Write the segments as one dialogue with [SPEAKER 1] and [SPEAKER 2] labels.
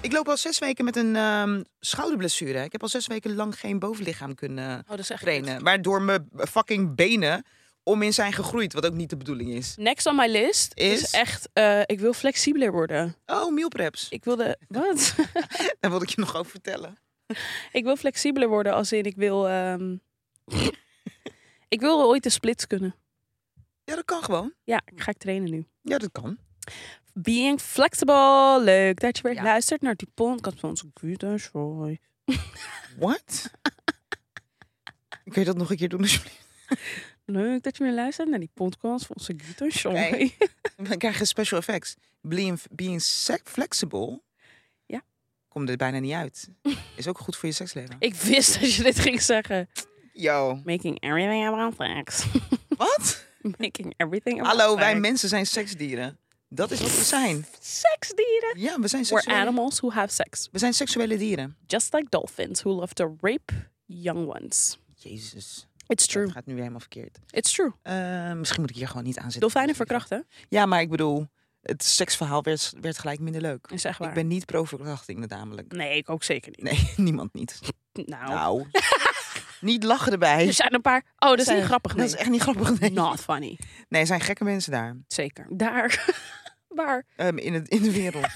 [SPEAKER 1] Ik loop al zes weken met een ehm, schouderblessure. Ik heb al zes weken lang geen bovenlichaam kunnen
[SPEAKER 2] Oh, dat is echt
[SPEAKER 1] trainen. Waardoor mijn fucking benen om in zijn gegroeid. Wat ook niet de bedoeling is.
[SPEAKER 2] Next on my list is,
[SPEAKER 1] Is?
[SPEAKER 2] echt, eh, ik wil flexibeler worden.
[SPEAKER 1] Oh, meal preps.
[SPEAKER 2] Ik wilde, wat?
[SPEAKER 1] Daar wilde ik je nog over vertellen.
[SPEAKER 2] ik wil flexibeler worden als in ik wil, ehm, ik wil ooit de splits kunnen.
[SPEAKER 1] Ja, dat kan gewoon.
[SPEAKER 2] Ja, ik ga ik trainen nu.
[SPEAKER 1] Ja, dat kan.
[SPEAKER 2] Being flexible. Leuk dat je weer
[SPEAKER 1] Ja.
[SPEAKER 2] luistert naar die podcast van onze Guido Show.
[SPEAKER 1] What? Kun je dat nog een keer doen dus alsjeblieft?
[SPEAKER 2] Leuk dat je weer luistert naar die podcast van onze Guido Show.
[SPEAKER 1] Oké. Dan krijg je special effects. Being, being se- flexible.
[SPEAKER 2] Ja.
[SPEAKER 1] Komt er bijna niet uit. Is ook goed voor je seksleven.
[SPEAKER 2] Ik wist dat je dit ging zeggen.
[SPEAKER 1] Yo.
[SPEAKER 2] Making everything about sex.
[SPEAKER 1] Wat?
[SPEAKER 2] Making everything about
[SPEAKER 1] Hallo, wij
[SPEAKER 2] sex.
[SPEAKER 1] mensen zijn seksdieren. Dat is wat we zijn.
[SPEAKER 2] Seksdieren.
[SPEAKER 1] Ja, we zijn
[SPEAKER 2] We're
[SPEAKER 1] seksuele,
[SPEAKER 2] animals who have sex.
[SPEAKER 1] we zijn seksuele dieren.
[SPEAKER 2] Just like dolphins who love to rape young ones.
[SPEAKER 1] Jezus.
[SPEAKER 2] It's true.
[SPEAKER 1] Het gaat nu weer helemaal verkeerd.
[SPEAKER 2] It's true.
[SPEAKER 1] Eh, misschien moet ik hier gewoon niet aan zitten.
[SPEAKER 2] Dolfijnen verkrachten.
[SPEAKER 1] Ja, maar ik bedoel, het seksverhaal werd, werd gelijk minder leuk.
[SPEAKER 2] Is echt waar.
[SPEAKER 1] Ik ben niet pro-verkrachting namelijk.
[SPEAKER 2] Nee, ik ook zeker niet.
[SPEAKER 1] Nee, niemand niet.
[SPEAKER 2] Nou,
[SPEAKER 1] Nou. niet lachen erbij.
[SPEAKER 2] er zijn een paar... Oh, dat is
[SPEAKER 1] Zijn-
[SPEAKER 2] niet grappig. Nee. Nou.
[SPEAKER 1] Dat is echt niet grappig. Nee,
[SPEAKER 2] Not funny.
[SPEAKER 1] nee er zijn gekke mensen daar.
[SPEAKER 2] Zeker. Daar. Waar?
[SPEAKER 1] Ehm, in, het, in de wereld.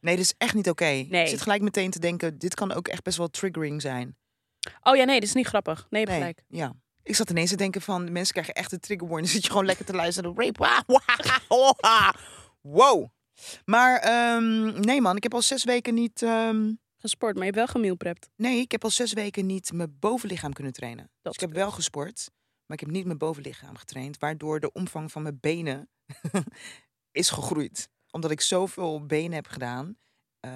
[SPEAKER 1] Nee, dat is echt niet oké.
[SPEAKER 2] Nee.
[SPEAKER 1] Ik zit gelijk meteen te denken, dit kan ook echt best wel triggering zijn.
[SPEAKER 2] Oh ja, nee, dat is niet grappig. Nee, je hebt
[SPEAKER 1] Nee,
[SPEAKER 2] gelijk.
[SPEAKER 1] ja. Ik zat ineens te denken van, de mensen krijgen echt een trigger warning. Dan zit je gewoon lekker te luisteren. Rape. Wah, wah, wah, wah. Wow. Maar ehm, nee man, ik heb al zes weken niet... ehm,
[SPEAKER 2] Gesport, maar je hebt wel gemeelprept.
[SPEAKER 1] nee, ik heb al zes weken niet mijn bovenlichaam kunnen trainen. dus
[SPEAKER 2] Dat
[SPEAKER 1] ik heb wel gesport, maar ik heb niet mijn bovenlichaam getraind. Waardoor de omvang van mijn benen is gegroeid. Omdat ik zoveel benen heb gedaan. eh,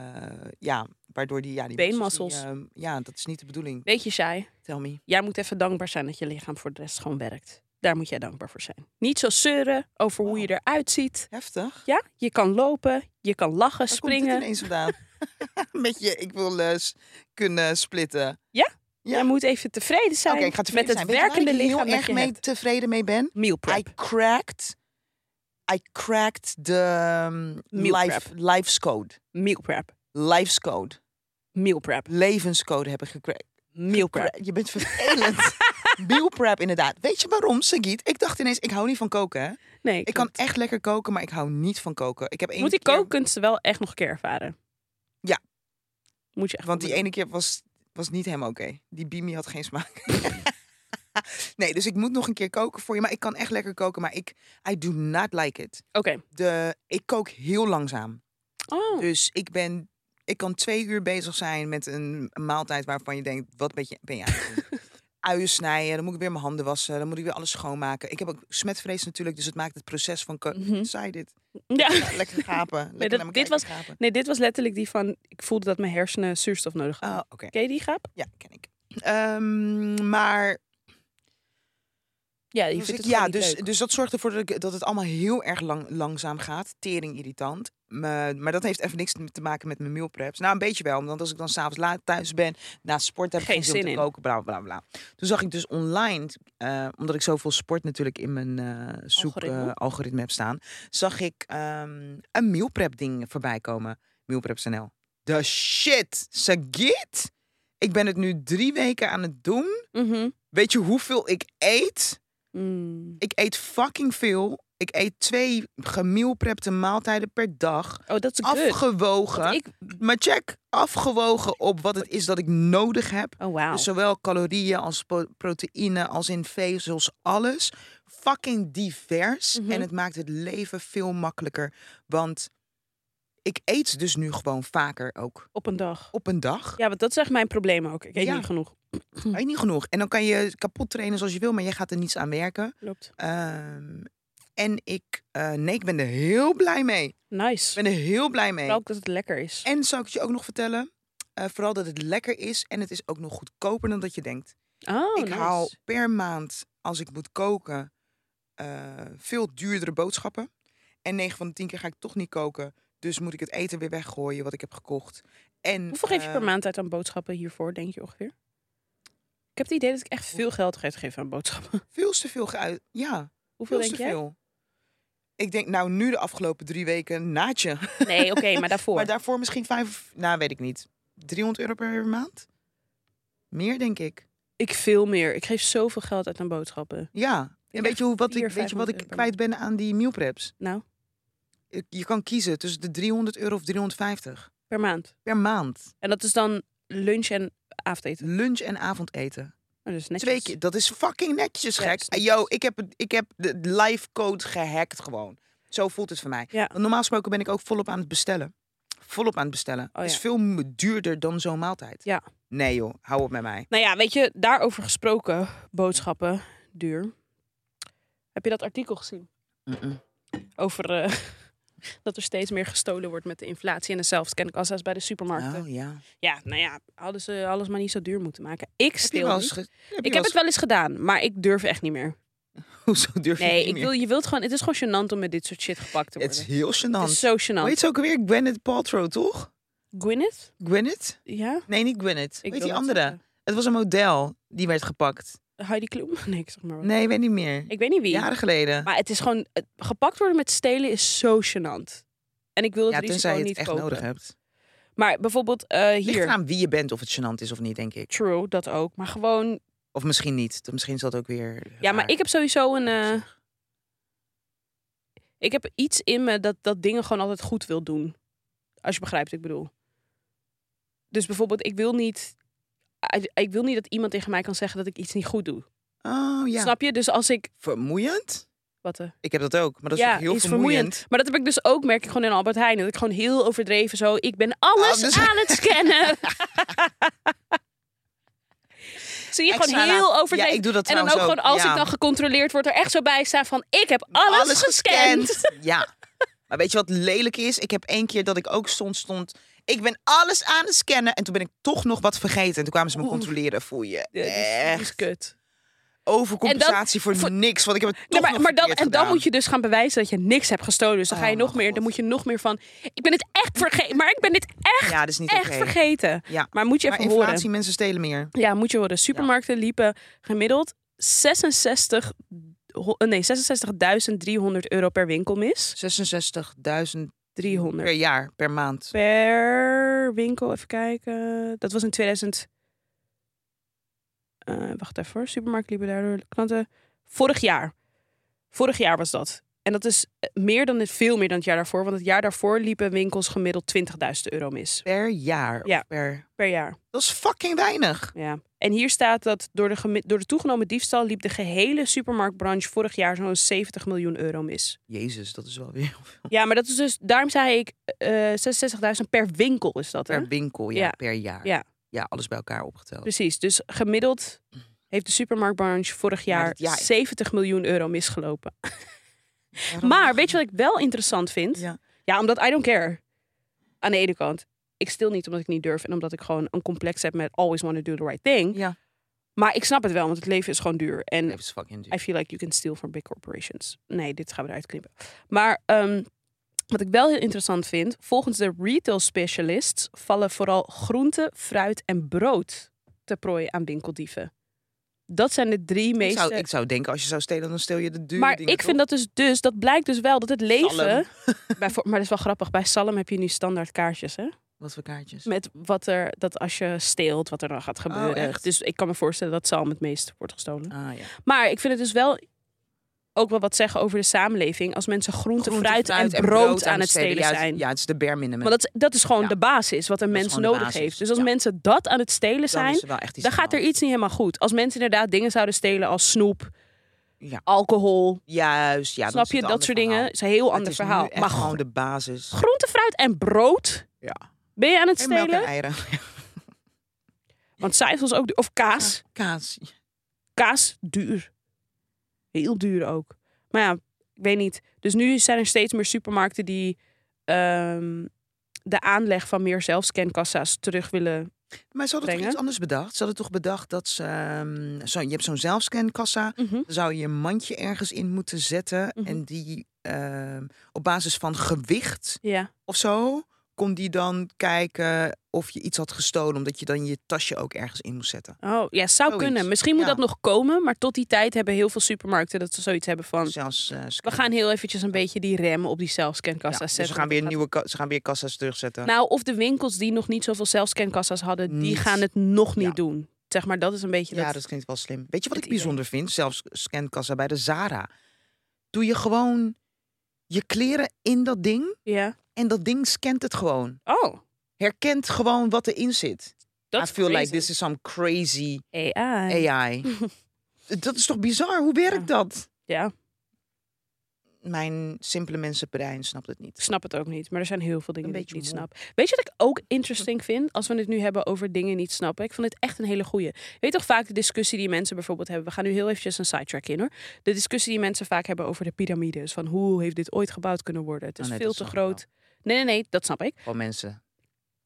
[SPEAKER 1] ja, waardoor die... Ja, die
[SPEAKER 2] Beenmassels.
[SPEAKER 1] die, ehm, ja, dat is niet de bedoeling.
[SPEAKER 2] Weet je, Shai,
[SPEAKER 1] Tell me.
[SPEAKER 2] jij moet even dankbaar zijn dat je lichaam voor de rest gewoon werkt. Daar moet jij dankbaar voor zijn. Niet zo zeuren over hoe je eruit ziet.
[SPEAKER 1] Heftig.
[SPEAKER 2] Ja, je kan lopen, je kan lachen,
[SPEAKER 1] Waar komt dit
[SPEAKER 2] springen.
[SPEAKER 1] ineens vandaan? Met je, ik wil eh, s- kunnen splitten. ja.
[SPEAKER 2] Jij moet even tevreden zijn
[SPEAKER 1] Oké, ik ga tevreden
[SPEAKER 2] met het
[SPEAKER 1] zijn. Weet je waar
[SPEAKER 2] werkende
[SPEAKER 1] ik
[SPEAKER 2] lichaam
[SPEAKER 1] heel
[SPEAKER 2] dat
[SPEAKER 1] erg
[SPEAKER 2] je
[SPEAKER 1] mee
[SPEAKER 2] hebt.
[SPEAKER 1] tevreden mee ben?
[SPEAKER 2] Meal
[SPEAKER 1] I
[SPEAKER 2] prep.
[SPEAKER 1] cracked... I cracked de um,
[SPEAKER 2] Meal
[SPEAKER 1] life, life's code.
[SPEAKER 2] Meal prep.
[SPEAKER 1] Life's code.
[SPEAKER 2] Meal prep.
[SPEAKER 1] Levenscode heb ik gecrackt.
[SPEAKER 2] Meal prep.
[SPEAKER 1] Je bent vervelend. Meal prep, inderdaad. Weet je waarom, Sagit? Ik dacht ineens, ik hou niet van koken. Hè?
[SPEAKER 2] Nee,
[SPEAKER 1] Ik kan echt lekker koken, maar ik hou niet van koken. Ik heb één
[SPEAKER 2] moet die
[SPEAKER 1] keer-
[SPEAKER 2] kookkunsten wel echt nog een keer ervaren.
[SPEAKER 1] Ja.
[SPEAKER 2] Moet je echt
[SPEAKER 1] Want die
[SPEAKER 2] goed doen.
[SPEAKER 1] ene keer was, was niet helemaal oké. Die bimi had geen smaak. nee, dus ik moet nog een keer koken voor je. Maar ik kan echt lekker koken. Maar ik, I do not like it.
[SPEAKER 2] Oké.
[SPEAKER 1] De, ik kook heel langzaam.
[SPEAKER 2] Oh,
[SPEAKER 1] Dus ik ben... Ik kan twee uur bezig zijn met een maaltijd waarvan je denkt... Wat ben je, ben je aan het doen? Uien snijden, dan moet ik weer mijn handen wassen. Dan moet ik weer alles schoonmaken. Ik heb ook smetvrees natuurlijk, dus het maakt het proces van... ko-
[SPEAKER 2] Mhm.
[SPEAKER 1] Saai dit.
[SPEAKER 2] ja.
[SPEAKER 1] Ja, lekker gapen. Lekker
[SPEAKER 2] dat-
[SPEAKER 1] naar me
[SPEAKER 2] dit
[SPEAKER 1] kijken gapen.
[SPEAKER 2] Nee, dit was letterlijk die van... Ik voelde dat mijn hersenen zuurstof nodig hadden.
[SPEAKER 1] Oh, oké.
[SPEAKER 2] Ken je die grap?
[SPEAKER 1] Ja, ken ik. Ehm, maar
[SPEAKER 2] Ja, die
[SPEAKER 1] Dus
[SPEAKER 2] vindt
[SPEAKER 1] ik-
[SPEAKER 2] het
[SPEAKER 1] ja,
[SPEAKER 2] gewoon niet
[SPEAKER 1] dus,
[SPEAKER 2] leuk.
[SPEAKER 1] dus dat zorgt ervoor dat, ik, dat het allemaal heel erg lang, langzaam gaat. Tering irritant. Maar, maar dat heeft even niks te maken met mijn meal preps. Nou, een beetje wel. Want als ik dan s'avonds laat thuis ben, na sport heb ik
[SPEAKER 2] Geen
[SPEAKER 1] geen zin om
[SPEAKER 2] zin
[SPEAKER 1] te
[SPEAKER 2] in.
[SPEAKER 1] koken. Bla, bla, bla. Toen zag ik dus online, eh, omdat ik zoveel sport natuurlijk in mijn eh
[SPEAKER 2] Algoritme.
[SPEAKER 1] zoekalgoritme algoritme heb staan, zag ik ehm, een meal prep ding voorbij komen. Mealpreps.nl. The shit! Sagit! Ik ben het nu drie weken aan het doen.
[SPEAKER 2] Mhm.
[SPEAKER 1] Weet je hoeveel ik eet?
[SPEAKER 2] Mm.
[SPEAKER 1] Ik eet fucking veel. Ik eet twee gemielprepte maaltijden per dag.
[SPEAKER 2] Oh, dat is good.
[SPEAKER 1] Afgewogen.
[SPEAKER 2] Ik...
[SPEAKER 1] Maar check, afgewogen op wat het is dat ik nodig heb.
[SPEAKER 2] Oh, wauw.
[SPEAKER 1] Dus zowel calorieën als po- proteïne als in vezels, alles. Fucking divers.
[SPEAKER 2] Mhm.
[SPEAKER 1] En het maakt het leven veel makkelijker. Want ik eet dus nu gewoon vaker ook.
[SPEAKER 2] Op een dag.
[SPEAKER 1] Op een dag.
[SPEAKER 2] Ja, want dat is echt mijn probleem ook. Ik eet
[SPEAKER 1] Ja.
[SPEAKER 2] niet genoeg.
[SPEAKER 1] Maar niet genoeg. En dan kan je kapot trainen zoals je wil, maar je gaat er niets aan werken.
[SPEAKER 2] Klopt.
[SPEAKER 1] Ehm, en ik, eh, nee, ik ben er heel blij mee. Ik
[SPEAKER 2] Nice.
[SPEAKER 1] ben er heel blij mee.
[SPEAKER 2] Vooral ook dat het lekker is.
[SPEAKER 1] En zou ik het je ook nog vertellen? eh, vooral dat het lekker is en het is ook nog goedkoper dan dat je denkt.
[SPEAKER 2] Oh,
[SPEAKER 1] ik
[SPEAKER 2] nice.
[SPEAKER 1] haal per maand, als ik moet koken, eh, veel duurdere boodschappen. En 9 van de 10 keer ga ik toch niet koken. Dus moet ik het eten weer weggooien wat ik heb gekocht. En,
[SPEAKER 2] Hoeveel geef je per
[SPEAKER 1] eh,
[SPEAKER 2] maand uit aan boodschappen hiervoor, denk je ongeveer? Ik heb het idee dat ik echt veel geld uitgeef aan boodschappen.
[SPEAKER 1] Veel te veel geuit. Ja,
[SPEAKER 2] Hoeveel
[SPEAKER 1] veel te
[SPEAKER 2] denk jij?
[SPEAKER 1] veel. Ik denk, nou, nu de afgelopen drie weken, naadje.
[SPEAKER 2] Nee, oké, maar daarvoor.
[SPEAKER 1] Maar daarvoor misschien vijf, nou weet ik niet. 300 euro per maand? Meer, denk ik.
[SPEAKER 2] Ik veel meer. Ik geef zoveel geld uit aan boodschappen.
[SPEAKER 1] Ja. En weet
[SPEAKER 2] echt
[SPEAKER 1] je, hoe, wat,
[SPEAKER 2] vier,
[SPEAKER 1] ik, weet je
[SPEAKER 2] 500
[SPEAKER 1] wat
[SPEAKER 2] euro
[SPEAKER 1] ik
[SPEAKER 2] per
[SPEAKER 1] kwijt ben aan die meal preps?
[SPEAKER 2] Nou,
[SPEAKER 1] Ik- Je kan kiezen tussen de 300 euro of 350
[SPEAKER 2] per maand.
[SPEAKER 1] per maand.
[SPEAKER 2] En dat is dan lunch en avondeten.
[SPEAKER 1] Lunch en avondeten.
[SPEAKER 2] Nou, dus netjes.
[SPEAKER 1] Twee keer. Dat is fucking netjes,
[SPEAKER 2] Ja,
[SPEAKER 1] gek.
[SPEAKER 2] dat is
[SPEAKER 1] En
[SPEAKER 2] netjes.
[SPEAKER 1] yo, ik heb, het- ik heb de live code gehackt gewoon. Zo voelt het voor mij.
[SPEAKER 2] Ja.
[SPEAKER 1] Want normaal gesproken ben ik ook volop aan het bestellen. Volop aan het bestellen.
[SPEAKER 2] Oh,
[SPEAKER 1] is
[SPEAKER 2] ja.
[SPEAKER 1] veel m- duurder dan zo'n maaltijd.
[SPEAKER 2] Ja.
[SPEAKER 1] Nee joh, hou op met mij.
[SPEAKER 2] Nou ja, weet je, daarover gesproken, boodschappen, duur. Heb je dat artikel gezien?
[SPEAKER 1] Mm-mm.
[SPEAKER 2] Over eh, dat er steeds meer gestolen wordt met de inflatie. En hetzelfde ken ik als bij de supermarkten.
[SPEAKER 1] Oh ja.
[SPEAKER 2] Ja, nou ja, hadden ze alles maar niet zo duur moeten maken. Ik
[SPEAKER 1] Heb je
[SPEAKER 2] stil
[SPEAKER 1] wel
[SPEAKER 2] niet.
[SPEAKER 1] eens ge- heb je
[SPEAKER 2] Ik
[SPEAKER 1] wel
[SPEAKER 2] heb
[SPEAKER 1] eens-
[SPEAKER 2] het wel eens gedaan, maar ik durf echt niet meer.
[SPEAKER 1] Hoezo durf je
[SPEAKER 2] Nee,
[SPEAKER 1] niet
[SPEAKER 2] ik
[SPEAKER 1] meer?
[SPEAKER 2] wil, je wilt gewoon, het is gewoon gênant om met dit soort shit gepakt te
[SPEAKER 1] Het is
[SPEAKER 2] worden.
[SPEAKER 1] heel
[SPEAKER 2] Het
[SPEAKER 1] gênant.
[SPEAKER 2] is zo
[SPEAKER 1] Weet
[SPEAKER 2] gênant.
[SPEAKER 1] je ook weer Gwyneth Paltrow, toch?
[SPEAKER 2] Gwyneth?
[SPEAKER 1] Gwyneth?
[SPEAKER 2] Ja?
[SPEAKER 1] Nee, niet Gwyneth.
[SPEAKER 2] Ik
[SPEAKER 1] weet
[SPEAKER 2] wil
[SPEAKER 1] die
[SPEAKER 2] dat
[SPEAKER 1] andere?
[SPEAKER 2] zeggen.
[SPEAKER 1] Het was een model die werd gepakt.
[SPEAKER 2] Heidi Klum? Nee, ik zeg maar wat.
[SPEAKER 1] Nee, ik weet niet meer.
[SPEAKER 2] Ik weet niet wie.
[SPEAKER 1] Jaren geleden.
[SPEAKER 2] Maar het is gewoon, het- gepakt worden met stelen is zo gênant. En ik wil het
[SPEAKER 1] ja,
[SPEAKER 2] risico
[SPEAKER 1] tenzij je het
[SPEAKER 2] niet
[SPEAKER 1] echt
[SPEAKER 2] kopen.
[SPEAKER 1] nodig hebt.
[SPEAKER 2] Maar bijvoorbeeld eh,
[SPEAKER 1] Ligt
[SPEAKER 2] hier.
[SPEAKER 1] eraan wie je bent, of het gênant is of niet, denk ik.
[SPEAKER 2] True, dat ook. Maar gewoon.
[SPEAKER 1] Of misschien niet. Dat- Misschien is dat ook weer.
[SPEAKER 2] Ja, maar
[SPEAKER 1] raar.
[SPEAKER 2] ik heb sowieso een. eh, ik heb iets in me dat, dat dingen gewoon altijd goed wil doen. Als je begrijpt, wat ik bedoel. Dus bijvoorbeeld, ik wil niet. I- Ik wil niet dat iemand tegen mij kan zeggen dat ik iets niet goed doe.
[SPEAKER 1] Oh ja.
[SPEAKER 2] Snap je? Dus als ik.
[SPEAKER 1] Vermoeiend?
[SPEAKER 2] Wat eh, de-
[SPEAKER 1] Ik heb dat ook, maar dat is
[SPEAKER 2] ja,
[SPEAKER 1] ook heel
[SPEAKER 2] is
[SPEAKER 1] vermoeiend.
[SPEAKER 2] Maar dat heb ik dus ook, merk ik gewoon in Albert Heijn. Dat ik gewoon heel overdreven zo. Ik ben alles
[SPEAKER 1] Ah, dus-
[SPEAKER 2] aan het scannen. Zie je
[SPEAKER 1] Extra
[SPEAKER 2] gewoon heel
[SPEAKER 1] laat-
[SPEAKER 2] overdreven.
[SPEAKER 1] Ja, ik doe dat
[SPEAKER 2] en dan ook
[SPEAKER 1] trouwens
[SPEAKER 2] gewoon als
[SPEAKER 1] Ja.
[SPEAKER 2] ik dan gecontroleerd word, er echt zo bij staan van ik heb alles, gescand.
[SPEAKER 1] Ja. Maar weet je wat lelijk is? Ik heb één keer dat ik ook stond, stond. Ik ben alles aan het scannen. En toen ben ik toch nog wat vergeten. En toen kwamen ze me
[SPEAKER 2] Oeh.
[SPEAKER 1] controleren. Voel je
[SPEAKER 2] Ja, die is- die
[SPEAKER 1] echt
[SPEAKER 2] is kut.
[SPEAKER 1] overcompensatie voor,
[SPEAKER 2] voor-
[SPEAKER 1] niks. Want ik heb het
[SPEAKER 2] Nee,
[SPEAKER 1] toch
[SPEAKER 2] maar,
[SPEAKER 1] nog
[SPEAKER 2] maar dan,
[SPEAKER 1] verkeerd
[SPEAKER 2] en dan
[SPEAKER 1] gedaan.
[SPEAKER 2] moet je dus gaan bewijzen dat je niks hebt gestolen. Dus dan ga
[SPEAKER 1] Oh,
[SPEAKER 2] je nog
[SPEAKER 1] mijn
[SPEAKER 2] meer, dan
[SPEAKER 1] God.
[SPEAKER 2] moet je nog meer van. Ik ben het echt vergeten. Maar ik ben dit echt,
[SPEAKER 1] Ja, dat is niet
[SPEAKER 2] echt
[SPEAKER 1] oké.
[SPEAKER 2] vergeten.
[SPEAKER 1] Ja.
[SPEAKER 2] Maar moet je
[SPEAKER 1] Maar
[SPEAKER 2] even
[SPEAKER 1] inflatie,
[SPEAKER 2] horen.
[SPEAKER 1] mensen stelen meer.
[SPEAKER 2] Ja, moet je horen. Supermarkten liepen gemiddeld 66, ho- eh, nee, 66.300 euro per winkel mis.
[SPEAKER 1] 66.000
[SPEAKER 2] 300
[SPEAKER 1] per jaar, per maand.
[SPEAKER 2] per winkel. Even kijken. Dat was in 2000. Eh, wacht even hoor. Supermarkt liepen daardoor klanten. Vorig jaar. Vorig jaar was dat. En dat is eh, meer dan het, veel meer dan het jaar daarvoor. Want het jaar daarvoor liepen winkels gemiddeld 20.000 euro mis.
[SPEAKER 1] Per jaar. of
[SPEAKER 2] Ja.
[SPEAKER 1] Per...
[SPEAKER 2] Per jaar.
[SPEAKER 1] Dat is fucking weinig.
[SPEAKER 2] Ja. En hier staat dat door de, gemi- door de toegenomen diefstal liep de gehele supermarktbranche vorig jaar zo'n 70 miljoen euro mis.
[SPEAKER 1] Jezus, dat is wel weer heel veel.
[SPEAKER 2] Ja, maar dat is dus, daarom zei ik eh 66.000 per winkel is dat. Hè?
[SPEAKER 1] Per winkel, ja,
[SPEAKER 2] Ja.
[SPEAKER 1] per jaar.
[SPEAKER 2] Ja.
[SPEAKER 1] ja, alles bij elkaar opgeteld.
[SPEAKER 2] Precies, dus gemiddeld heeft de supermarktbranche vorig
[SPEAKER 1] Maar
[SPEAKER 2] jaar
[SPEAKER 1] dat- ja.
[SPEAKER 2] 70 miljoen euro misgelopen.
[SPEAKER 1] Waarom-
[SPEAKER 2] Maar weet je wat ik wel interessant vind?
[SPEAKER 1] Ja.
[SPEAKER 2] Ja, omdat I don't care. Aan de ene kant, ik stil niet omdat ik niet durf en omdat ik gewoon een complex heb met always want to do the right thing.
[SPEAKER 1] Ja.
[SPEAKER 2] Maar ik snap het wel, want het leven is gewoon duur. En
[SPEAKER 1] Nee, dat is fucking duur.
[SPEAKER 2] I feel like you can steal from big corporations. Nee, dit gaan we eruit knippen. Maar ehm, wat ik wel heel interessant vind, volgens de retail specialists vallen vooral groente, fruit en brood te prooi aan winkeldieven. Dat zijn de drie
[SPEAKER 1] Ik
[SPEAKER 2] meeste.
[SPEAKER 1] zou, ik zou denken, als je zou stelen, dan steel je de dure
[SPEAKER 2] maar
[SPEAKER 1] dingen,
[SPEAKER 2] ik vind
[SPEAKER 1] toch?
[SPEAKER 2] dat dus, dus, dat blijkt dus wel dat het leven.
[SPEAKER 1] Zalm.
[SPEAKER 2] Bij, maar dat is wel grappig, bij Salem heb je nu standaard kaartjes, hè?
[SPEAKER 1] Wat voor kaartjes?
[SPEAKER 2] Met wat er, dat als je steelt, wat er dan gaat gebeuren.
[SPEAKER 1] Oh, echt?
[SPEAKER 2] dus ik kan me voorstellen dat Salm het meest wordt gestolen.
[SPEAKER 1] Ah, ja.
[SPEAKER 2] Maar ik vind het dus wel ook wel wat zeggen over de samenleving. Als mensen groente,
[SPEAKER 1] Groente,
[SPEAKER 2] fruit, en brood, aan het stelen
[SPEAKER 1] Ja,
[SPEAKER 2] zijn.
[SPEAKER 1] Ja, het is de bare minimum.
[SPEAKER 2] Maar dat, dat is gewoon
[SPEAKER 1] Ja.
[SPEAKER 2] de basis wat een
[SPEAKER 1] Dat is
[SPEAKER 2] mens
[SPEAKER 1] gewoon de
[SPEAKER 2] nodig
[SPEAKER 1] basis,
[SPEAKER 2] heeft. Dus als
[SPEAKER 1] ja.
[SPEAKER 2] mensen dat aan het stelen
[SPEAKER 1] dan
[SPEAKER 2] zijn,
[SPEAKER 1] is er wel echt iets
[SPEAKER 2] dan gaat er
[SPEAKER 1] aan de
[SPEAKER 2] iets niet helemaal goed. Als mensen inderdaad dingen zouden stelen als snoep,
[SPEAKER 1] Ja.
[SPEAKER 2] alcohol,
[SPEAKER 1] hand. Juist, ja.
[SPEAKER 2] snap
[SPEAKER 1] is
[SPEAKER 2] je,
[SPEAKER 1] een
[SPEAKER 2] dat
[SPEAKER 1] ander
[SPEAKER 2] soort
[SPEAKER 1] verhaal.
[SPEAKER 2] dingen, is een heel
[SPEAKER 1] Het
[SPEAKER 2] ander
[SPEAKER 1] is nu
[SPEAKER 2] verhaal.
[SPEAKER 1] echt
[SPEAKER 2] Maar
[SPEAKER 1] gewoon
[SPEAKER 2] gro-
[SPEAKER 1] de basis.
[SPEAKER 2] groente, fruit en brood
[SPEAKER 1] Ja.
[SPEAKER 2] ben je aan het
[SPEAKER 1] En melk en
[SPEAKER 2] stelen.
[SPEAKER 1] eieren.
[SPEAKER 2] Want cijfels ook, du- of kaas.
[SPEAKER 1] Kaas.
[SPEAKER 2] kaas duur. Heel duur ook. Maar ja, ik weet niet. Dus nu zijn er steeds meer supermarkten die ehm, de aanleg van meer zelfscankassa's terug willen.
[SPEAKER 1] Maar ze hadden
[SPEAKER 2] brengen.
[SPEAKER 1] toch iets anders bedacht? Ze hadden toch bedacht dat ze... ehm, zo, je hebt zo'n zelfscankassa. Dan zou je een mandje ergens in moeten zetten.
[SPEAKER 2] Mhm.
[SPEAKER 1] En die ehm, op basis van gewicht
[SPEAKER 2] Ja.
[SPEAKER 1] of zo... kon die dan kijken of je iets had gestolen, omdat je dan je tasje ook ergens in moest zetten.
[SPEAKER 2] Oh, ja, zou
[SPEAKER 1] Zoiets,
[SPEAKER 2] kunnen. Misschien moet
[SPEAKER 1] ja.
[SPEAKER 2] dat nog komen, maar tot die tijd hebben heel veel supermarkten dat ze zoiets hebben van...
[SPEAKER 1] Zelfs, eh,
[SPEAKER 2] We gaan heel eventjes een beetje die rem op die
[SPEAKER 1] Ja,
[SPEAKER 2] zelfscankassa's
[SPEAKER 1] dus
[SPEAKER 2] zetten.
[SPEAKER 1] ze gaan weer
[SPEAKER 2] Dat gaat-
[SPEAKER 1] nieuwe, ka- ze gaan weer kassa's terugzetten.
[SPEAKER 2] Nou, of de winkels die nog niet zoveel zelfscankassa's hadden, die
[SPEAKER 1] Niet.
[SPEAKER 2] gaan het nog niet
[SPEAKER 1] Ja.
[SPEAKER 2] doen. Zeg maar, dat is een beetje
[SPEAKER 1] ja,
[SPEAKER 2] dat...
[SPEAKER 1] dat klinkt wel slim. Weet je wat
[SPEAKER 2] het
[SPEAKER 1] ik bijzonder vind? Zelfs scankassa bij de Zara. Doe je gewoon je kleren in dat ding
[SPEAKER 2] Ja.
[SPEAKER 1] en dat ding scant het gewoon.
[SPEAKER 2] Oh,
[SPEAKER 1] Herkent gewoon wat erin zit.
[SPEAKER 2] dat
[SPEAKER 1] I feel like this is some crazy
[SPEAKER 2] AI.
[SPEAKER 1] AI. dat is toch bizar? Hoe werkt dat?
[SPEAKER 2] Ja, Mijn
[SPEAKER 1] Mijn simpele mensenbrein snapt het
[SPEAKER 2] ik
[SPEAKER 1] niet.
[SPEAKER 2] snap het ook niet, maar er zijn heel veel dingen
[SPEAKER 1] Een
[SPEAKER 2] die ik niet
[SPEAKER 1] beetje
[SPEAKER 2] snap. Weet je wat ik ook interesting vind als we het nu hebben over dingen niet snappen? Ik vond dit echt een hele goeie. Je Weet toch vaak de discussie die mensen bijvoorbeeld hebben? We gaan nu heel eventjes een sidetrack in hoor. De discussie die mensen vaak hebben over de piramides. Van hoe heeft dit ooit gebouwd kunnen worden? Het is
[SPEAKER 1] Oh, nee,
[SPEAKER 2] veel
[SPEAKER 1] dat
[SPEAKER 2] te
[SPEAKER 1] snap ik wel.
[SPEAKER 2] groot. Nee, nee, nee, dat snap ik.
[SPEAKER 1] Gewoon mensen,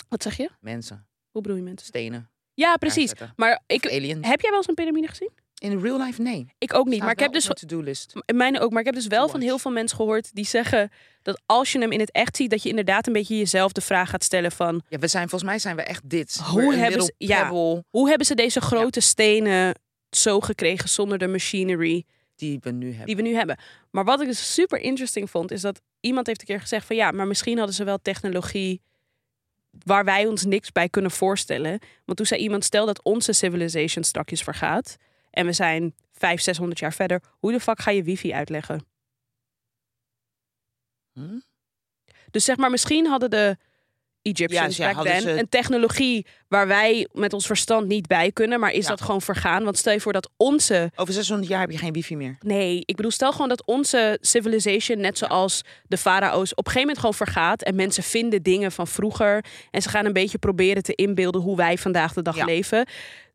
[SPEAKER 2] Wat zeg je?
[SPEAKER 1] mensen,
[SPEAKER 2] Hoe bedoel je mensen?
[SPEAKER 1] stenen.
[SPEAKER 2] Ja, precies.
[SPEAKER 1] elkaar zetten.
[SPEAKER 2] Maar ik,
[SPEAKER 1] Of aliens.
[SPEAKER 2] heb jij wel eens een piramide gezien? In
[SPEAKER 1] In real life, nee.
[SPEAKER 2] Ik ook niet.
[SPEAKER 1] Staat
[SPEAKER 2] Maar ik
[SPEAKER 1] wel
[SPEAKER 2] heb dus
[SPEAKER 1] op mijn to-do list.
[SPEAKER 2] M- Mijne ook, maar ik heb dus wel
[SPEAKER 1] To
[SPEAKER 2] van
[SPEAKER 1] watch.
[SPEAKER 2] heel veel mensen gehoord die zeggen dat als je hem in het echt ziet, dat je inderdaad een beetje jezelf de vraag gaat stellen van
[SPEAKER 1] Ja, we zijn volgens mij zijn we echt dit.
[SPEAKER 2] Hoe
[SPEAKER 1] We're a
[SPEAKER 2] hebben
[SPEAKER 1] little
[SPEAKER 2] ze- ja.
[SPEAKER 1] pebble
[SPEAKER 2] hoe hebben ze deze grote stenen zo gekregen zonder de machinery
[SPEAKER 1] die we nu hebben.
[SPEAKER 2] die we nu hebben. Maar wat ik dus super interesting vond, is dat iemand heeft een keer gezegd van ja, maar misschien hadden ze wel technologie waar wij ons niks bij kunnen voorstellen. Want toen zei iemand, stel dat onze civilization strakjes vergaat en we zijn 500, 600 jaar verder, hoe de fuck ga je wifi uitleggen?
[SPEAKER 1] Hm?
[SPEAKER 2] Dus zeg maar, misschien hadden de Egyptians
[SPEAKER 1] Ja, ja,
[SPEAKER 2] back
[SPEAKER 1] hadden
[SPEAKER 2] then
[SPEAKER 1] ze-
[SPEAKER 2] een technologie waar wij met ons verstand niet bij kunnen, maar is
[SPEAKER 1] Ja.
[SPEAKER 2] dat gewoon vergaan? Want stel je voor dat onze
[SPEAKER 1] Over 600 jaar heb je geen wifi meer.
[SPEAKER 2] Nee, ik bedoel, stel gewoon dat onze civilization, net zoals de farao's, op een gegeven moment gewoon vergaat. En mensen vinden dingen van vroeger. En ze gaan een beetje proberen te inbeelden hoe wij vandaag de dag
[SPEAKER 1] Ja.
[SPEAKER 2] leven.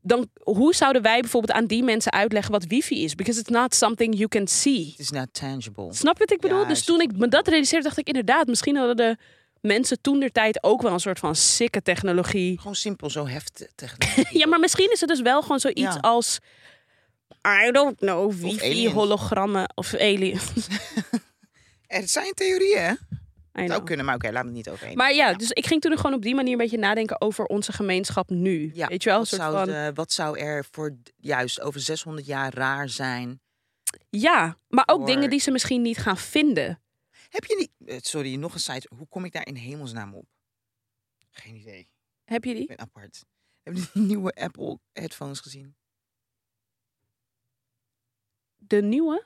[SPEAKER 2] Dan, hoe zouden wij bijvoorbeeld aan die mensen uitleggen wat wifi is? Because it's not something you can see.
[SPEAKER 1] Het is not tangible.
[SPEAKER 2] Snap je wat ik bedoel? dus
[SPEAKER 1] Juist.
[SPEAKER 2] toen ik me dat realiseerde, dacht ik inderdaad, misschien hadden de mensen toen der tijd ook wel een soort van sikke technologie.
[SPEAKER 1] Gewoon simpel, zo heft technologie.
[SPEAKER 2] Ja, maar misschien is het dus wel gewoon zoiets
[SPEAKER 1] Ja.
[SPEAKER 2] als. I don't know, wifi,
[SPEAKER 1] aliens.
[SPEAKER 2] hologrammen of alien.
[SPEAKER 1] Er zijn theorieën, hè?
[SPEAKER 2] I
[SPEAKER 1] Zou
[SPEAKER 2] know.
[SPEAKER 1] kunnen, maar oké, laat het niet overheen.
[SPEAKER 2] Maar ja, dus ik ging toen gewoon op die manier een beetje nadenken over onze gemeenschap nu.
[SPEAKER 1] Ja,
[SPEAKER 2] Weet je wel, een
[SPEAKER 1] wat,
[SPEAKER 2] soort
[SPEAKER 1] zou
[SPEAKER 2] van...
[SPEAKER 1] de- wat zou er voor d- juist over 600 jaar raar zijn?
[SPEAKER 2] Ja, maar ook
[SPEAKER 1] Voor-
[SPEAKER 2] dingen die ze misschien niet gaan vinden.
[SPEAKER 1] Heb je niet... eh, Sorry, nog een site. Hoe kom ik daar in hemelsnaam op? Geen idee.
[SPEAKER 2] Heb je
[SPEAKER 1] Ik
[SPEAKER 2] die?
[SPEAKER 1] ben apart. Heb je die nieuwe Apple headphones gezien?
[SPEAKER 2] De nieuwe?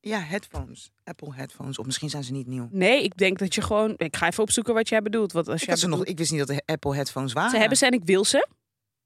[SPEAKER 1] Ja, headphones. Apple headphones. Of misschien zijn ze niet nieuw.
[SPEAKER 2] Nee, ik denk dat je gewoon... Ik ga even opzoeken wat jij bedoelt. Want
[SPEAKER 1] Ik,
[SPEAKER 2] als jij
[SPEAKER 1] had ze, nog,
[SPEAKER 2] bedoelt-
[SPEAKER 1] ik wist niet dat de Apple headphones waren.
[SPEAKER 2] Ze hebben ze en ik wil ze.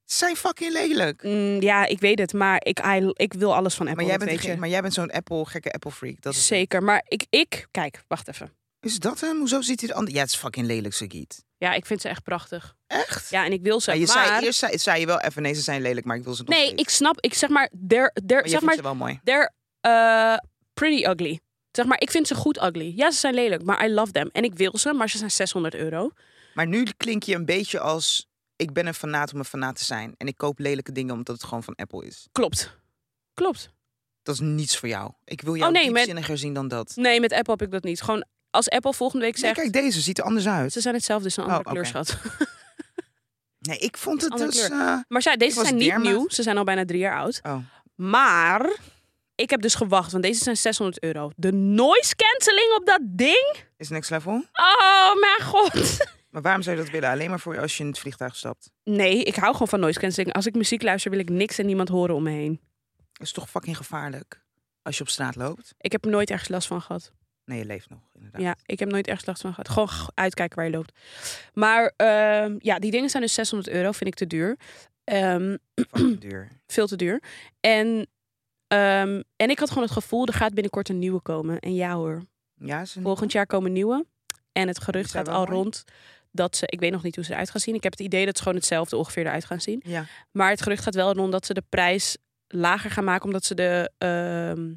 [SPEAKER 1] Ze zijn fucking lelijk.
[SPEAKER 2] Mm, ja, ik weet het, maar ik, I- ik wil alles van Apple,
[SPEAKER 1] maar jij
[SPEAKER 2] dat
[SPEAKER 1] bent,
[SPEAKER 2] weet
[SPEAKER 1] geen-
[SPEAKER 2] je.
[SPEAKER 1] maar jij bent zo'n Apple, gekke Apple freak. Dat is,
[SPEAKER 2] Zeker, maar ik, ik... Kijk, wacht even.
[SPEAKER 1] is dat hem? Hoezo ziet hij er anders? Ja, het is fucking lelijk, Sagiet.
[SPEAKER 2] Ja, ik vind ze echt prachtig.
[SPEAKER 1] Echt?
[SPEAKER 2] Ja, en ik wil ze,
[SPEAKER 1] Ja, je
[SPEAKER 2] maar...
[SPEAKER 1] zei, eerst zei, zei je wel even, nee, ze zijn lelijk, maar ik wil ze nog
[SPEAKER 2] Nee,
[SPEAKER 1] steeds.
[SPEAKER 2] ik snap, ik zeg maar... Der, der,
[SPEAKER 1] maar je
[SPEAKER 2] zeg
[SPEAKER 1] vindt
[SPEAKER 2] maar
[SPEAKER 1] ze wel mooi.
[SPEAKER 2] They're eh, pretty ugly. Zeg maar, ik vind ze goed ugly. Ja, ze zijn lelijk, maar I love them. En ik wil ze, maar ze zijn 600 euro.
[SPEAKER 1] Maar nu klink je een beetje als, ik ben een fanaat om een fanaat te zijn. En ik koop lelijke dingen omdat het gewoon van Apple is.
[SPEAKER 2] Klopt. Klopt.
[SPEAKER 1] Dat is niets voor jou. Ik wil jou
[SPEAKER 2] Oh, nee,
[SPEAKER 1] niet
[SPEAKER 2] maar-
[SPEAKER 1] zinniger zien dan dat.
[SPEAKER 2] Nee, met Apple heb ik dat niet. Gewoon, als Apple volgende week
[SPEAKER 1] Nee,
[SPEAKER 2] zegt...
[SPEAKER 1] kijk, deze ziet er anders uit.
[SPEAKER 2] ze zijn hetzelfde, ze zijn een
[SPEAKER 1] Oh,
[SPEAKER 2] andere
[SPEAKER 1] oké.
[SPEAKER 2] kleurschat.
[SPEAKER 1] Nee, ik vond het
[SPEAKER 2] Andere
[SPEAKER 1] dus...
[SPEAKER 2] kleur.
[SPEAKER 1] eh,
[SPEAKER 2] Maar zij, deze
[SPEAKER 1] was
[SPEAKER 2] zijn niet
[SPEAKER 1] dermate-
[SPEAKER 2] nieuw. Ze zijn al bijna drie jaar oud.
[SPEAKER 1] oh,
[SPEAKER 2] Maar ik heb dus gewacht, want deze zijn 600 euro. De noise cancelling op dat ding?
[SPEAKER 1] is next level.
[SPEAKER 2] Oh, mijn god.
[SPEAKER 1] Maar waarom zou je dat willen? Alleen maar voor als je in het vliegtuig stapt.
[SPEAKER 2] Nee, ik hou gewoon van noise cancelling. Als ik muziek luister, wil ik niks en niemand horen om me heen.
[SPEAKER 1] Dat is toch fucking gevaarlijk? Als je op straat loopt?
[SPEAKER 2] Ik heb er nooit ergens last van gehad.
[SPEAKER 1] Nee, je leeft nog, inderdaad.
[SPEAKER 2] Ja, ik heb nooit echt last van gehad. Gewoon g- uitkijken waar je loopt. Maar ehm, ja, die dingen zijn dus 600 euro, vind ik te duur. Ehm,
[SPEAKER 1] Fucking duur.
[SPEAKER 2] veel te duur. En, ehm, en ik had gewoon het gevoel, er gaat binnenkort een nieuwe komen. En ja
[SPEAKER 1] Mhm.
[SPEAKER 2] hoor,
[SPEAKER 1] Ja, ze
[SPEAKER 2] volgend jaar komen nieuwe. En het gerucht
[SPEAKER 1] zijn
[SPEAKER 2] gaat
[SPEAKER 1] wel
[SPEAKER 2] al
[SPEAKER 1] mooi.
[SPEAKER 2] rond dat ze, ik weet nog niet hoe ze eruit gaan zien. Ik heb het idee dat ze gewoon hetzelfde ongeveer eruit gaan zien.
[SPEAKER 1] Ja.
[SPEAKER 2] Maar het gerucht gaat wel rond dat ze de prijs lager gaan maken, omdat ze de ehm,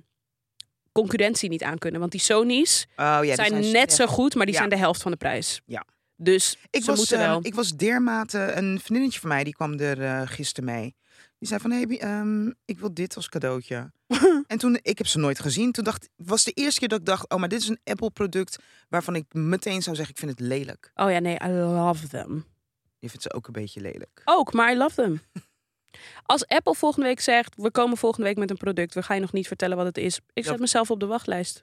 [SPEAKER 2] concurrentie niet aankunnen. Want die Sony's,
[SPEAKER 1] Oh, ja, die
[SPEAKER 2] zijn,
[SPEAKER 1] s-
[SPEAKER 2] net
[SPEAKER 1] ja.
[SPEAKER 2] zo goed, maar die
[SPEAKER 1] Ja.
[SPEAKER 2] zijn de helft van de prijs.
[SPEAKER 1] Ja.
[SPEAKER 2] Dus
[SPEAKER 1] Ik
[SPEAKER 2] ze
[SPEAKER 1] was,
[SPEAKER 2] moeten
[SPEAKER 1] eh,
[SPEAKER 2] wel.
[SPEAKER 1] ik was dermate... Een vriendinnetje van mij, die kwam er eh gisteren mee. Die Die zei van, hé, hey, ehm, ik wil dit als cadeautje. en toen, ik heb ze nooit gezien. Toen dacht, was de eerste keer dat ik dacht, oh, maar dit is een Apple-product waarvan ik meteen zou zeggen, ik vind het lelijk.
[SPEAKER 2] Oh ja, nee, I love them.
[SPEAKER 1] Je vindt ze ook een beetje lelijk.
[SPEAKER 2] Ook, maar I love them. Als Apple volgende week zegt, we komen volgende week met een product, we gaan je nog niet vertellen wat het is. Ik zet
[SPEAKER 1] Yep.
[SPEAKER 2] mezelf op de wachtlijst.